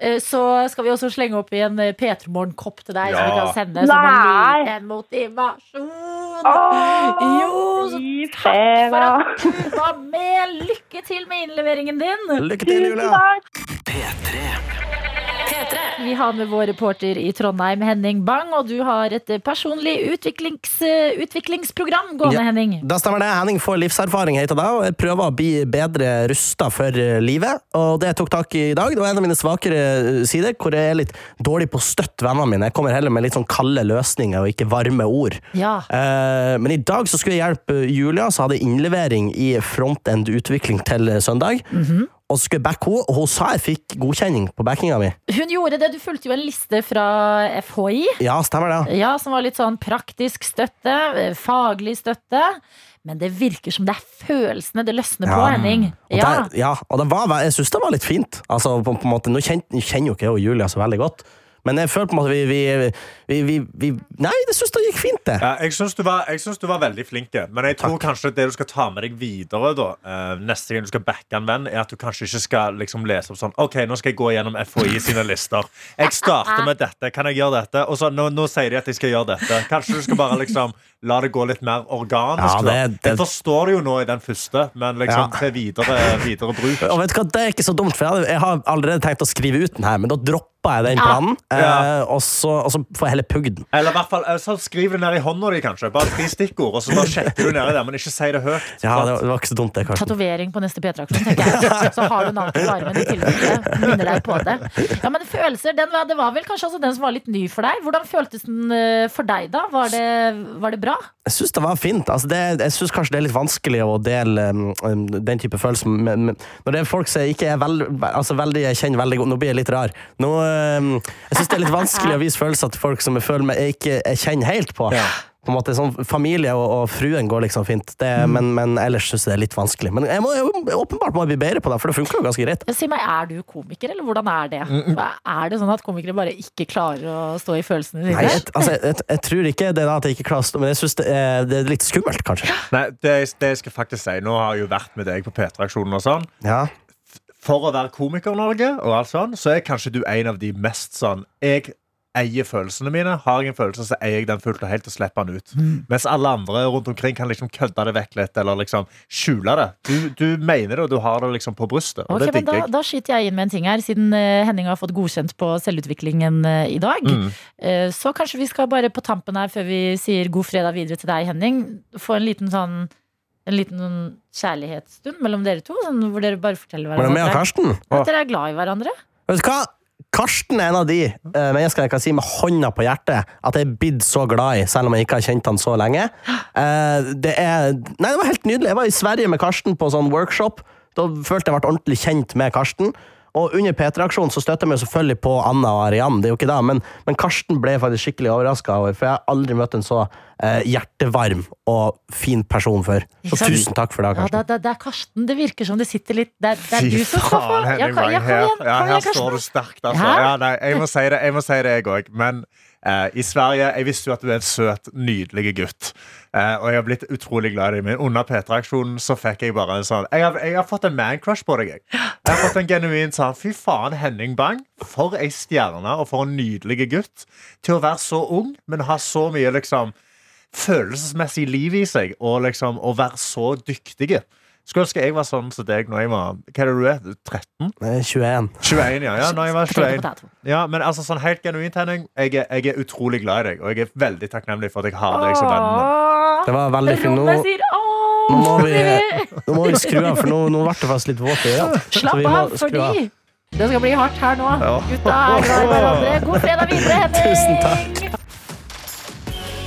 B: eh, så skal vi også slenge opp i en eh, P3 Morgen-kopp til deg, som vi
C: Ja.
B: kan sende som en
F: Nei.
B: liten motivasjon.
F: Åh,
B: Jo, så
F: fy
B: takk for
F: fæva.
B: at du var med. Lykke til med innleveringen din.
M: Lykke til,
F: Tusen
M: Julia.
F: takk.
O: P3.
B: Vi har med vår reporter i Trondheim, Henning Bang, og du har et eh, personlig utviklings, eh, utviklingsprogram gående,
M: Ja.
B: Henning.
M: Da stemmer det. Henning får livserfaring heter det, og jeg prøver å bli bedre rusta for eh, livet. Og det jeg tok tak i i dag, det var en av mine svakere eh, sider, hvor jeg er litt dårlig på å støtte vennene mine. Jeg kommer heller med litt sånn kalde løsninger og ikke varme ord.
B: Ja.
M: Eh, men i dag så skulle jeg hjelpe Julia, så hadde jeg innlevering i frontend utvikling til eh, søndag.
B: Mhm.
M: Og så skulle jeg backe henne, og hun sa jeg fikk godkjenning på backinga mi.
B: Hun gjorde det. Du fulgte jo en liste fra FHI,
M: Ja, stemmer det.
B: ja, som var litt sånn praktisk støtte, eh, faglig støtte. Men det virker som det er følelsene det løsner på,
M: Ja.
B: Henning.
M: Og,
B: Ja.
M: der, ja, og det var, jeg syns det var litt fint. Altså, på, på en måte, nå kjenner, jeg kjenner jo ikke jeg og Julia så veldig godt, men jeg føler på en måte vi, vi, vi, vi, vi Nei, jeg syns det gikk fint, det.
C: Ja, jeg syns du, var- jeg syns du var veldig flink, men jeg tror kanskje det du skal ta med deg videre da, eh, neste gang du skal backe en venn, er at du kanskje ikke skal liksom lese opp sånn OK, nå skal jeg gå gjennom FHI sine lister. Jeg starter med dette. Kan jeg gjøre dette? Og så nå, nå sier de at jeg skal gjøre dette. Kanskje du skal bare liksom la det gå litt mer organisk.
M: Ja,
C: da.
M: det-
C: Jeg
M: det-
C: forstår det jo nå i den første, men liksom
M: Ja.
C: til videre, videre bruk.
M: Og vet du hva, Det er ikke så dumt, for jeg, hadde, jeg har allerede tenkt å skrive ut den her, men da droppa jeg den planen.
C: Ja.
M: eh, og, så, og så får jeg heller pugge den.
C: Eller i hvert fall, eh, så skriv det ned i hånda di, kanskje. Bare tre stikkord, og så bare sjekker du nedi der, men ikke si det høyt.
M: Ja, det var, det var ikke så dumt, det, Karsten.
B: Tatovering på neste P3-aksjon, tenker jeg. Så har du navnet på armen i tilfelle det minner deg på det. Ja, men følelser, den var, Det var vel kanskje også den som var litt ny for deg. Hvordan føltes den eh, for deg, da? Var det, var det bra?
M: Jeg syns det var fint. Altså det, jeg synes kanskje det er litt vanskelig å dele um, um, den type følelser. Men, men når det er folk som jeg ikke er vel, altså veldig, jeg kjenner veldig godt Nå blir jeg litt rar. Nå, um, jeg syns det er litt vanskelig å vise følelser til folk som jeg føler meg jeg ikke jeg kjenner helt på. På en måte sånn Familie og, og fruen går liksom fint, det, men, men ellers syns jeg det er litt vanskelig. Men jeg må jeg, åpenbart må jeg bli bedre på det, for det funker jo ganske greit.
B: Si meg, er du komiker, eller hvordan er det?
M: Mm,
B: Er det sånn at komikere bare ikke klarer å stå i følelsene
M: Nei,
B: dine?
M: jeg, altså, jeg, jeg, jeg tror ikke det er da at jeg ikke klarer å stå- men jeg syns det, er- det er litt skummelt, kanskje.
C: Nei, det, det jeg skal faktisk si Nå har jeg jo vært med deg på P3-aksjonen og sånn
M: Ja.
C: For å være komiker i Norge og alt sånn Så er kanskje du en av de mest sånn Jeg eier følelsene mine Har jeg en følelse så eier jeg den fullt og helt og slipper den ut
B: Mm.
C: Mens alle andre rundt omkring kan liksom kødde det vekk litt Eller liksom skjule det Du, du mener det og du har det liksom på brystet Og
B: Ok,
C: det
B: men da,
C: digger jeg
B: da skyter jeg inn med en ting her, siden eh, Henning har fått godkjent på selvutviklingen eh, i dag.
C: Mm.
B: Eh, så kanskje vi skal bare på tampen her, før vi sier god fredag videre til deg, Henning, få en liten sånn en liten sånn kjærlighetsstund mellom dere to, sånn, hvor dere bare forteller
M: Var det
B: hverandre
M: meg og Karsten?
B: at dere er glad i hverandre.
M: Vet du hva? Karsten er en av de eh, menneskene jeg kan si med hånda på hjertet at jeg er blitt så glad i, selv om jeg ikke har kjent han så lenge. Eh, det, er, nei, det var helt nydelig. Jeg var i Sverige med Karsten på sånn workshop. Da følte jeg ble ordentlig kjent med Karsten. Og under P3-aksjonen så støtter jeg meg selvfølgelig på Anna og Arian, det er jo ikke det, men, men Karsten ble jeg faktisk skikkelig overraska over, for jeg har aldri møtt en så eh, hjertevarm og fin person før.
B: Ikke
M: Så
B: sant?
M: tusen takk for det,
B: Ja,
M: Karsten.
B: det, det, det er Karsten. Det virker som det sitter litt Det er, det er
C: Fy
B: du som skal få
C: faen,
B: Ja,
C: Henning
B: kom, ja,
C: Wang,
B: kom
C: her,
B: igjen,
C: ja,
B: kom
C: her
B: igjen,
C: står du
B: Karsten.
C: sterkt, altså.
B: Hæ?
C: Ja, nei, jeg må si det, jeg må si det, jeg òg. Men eh, i Sverige Jeg visste jo at du er en søt, nydelig gutt. Eh, og jeg har blitt utrolig glad i deg. Men under P3-aksjonen så fikk jeg bare en sånn Jeg har, jeg har fått en man-crush på deg, jeg. Jeg har fått en genuin sånn Fy faen, Henning Bang. For ei stjerne, og for en nydelig gutt. Til å være så ung, men ha så mye liksom følelsesmessig liv i seg, og liksom å være så dyktige. Skulle ønske jeg var sånn som deg når jeg var Hva er det du er? 13?
M: Eh, 21.
C: 21, ja. ja når jeg var
B: Potato,
C: 21.
B: potato.
C: Ja, men altså sånn helt genuint, Henning. Jeg er, jeg er utrolig glad i deg, og jeg er veldig takknemlig for at jeg har deg som venn.
B: Åh,
M: Det var veldig fint.
B: Rommet
M: Nå,
B: sier åh!
M: nå, må vi,
B: Sier vi.
M: nå må vi skru av, for nå, nå ble det faktisk litt våt i øynene. Så vi
B: Slapp
M: må
B: av,
M: skru av.
B: fordi det skal bli hardt her nå.
C: Ja.
B: Gutta er glad i hverandre. God fredag videre, Henning!
M: Tusen takk.
P: P3 Morgen.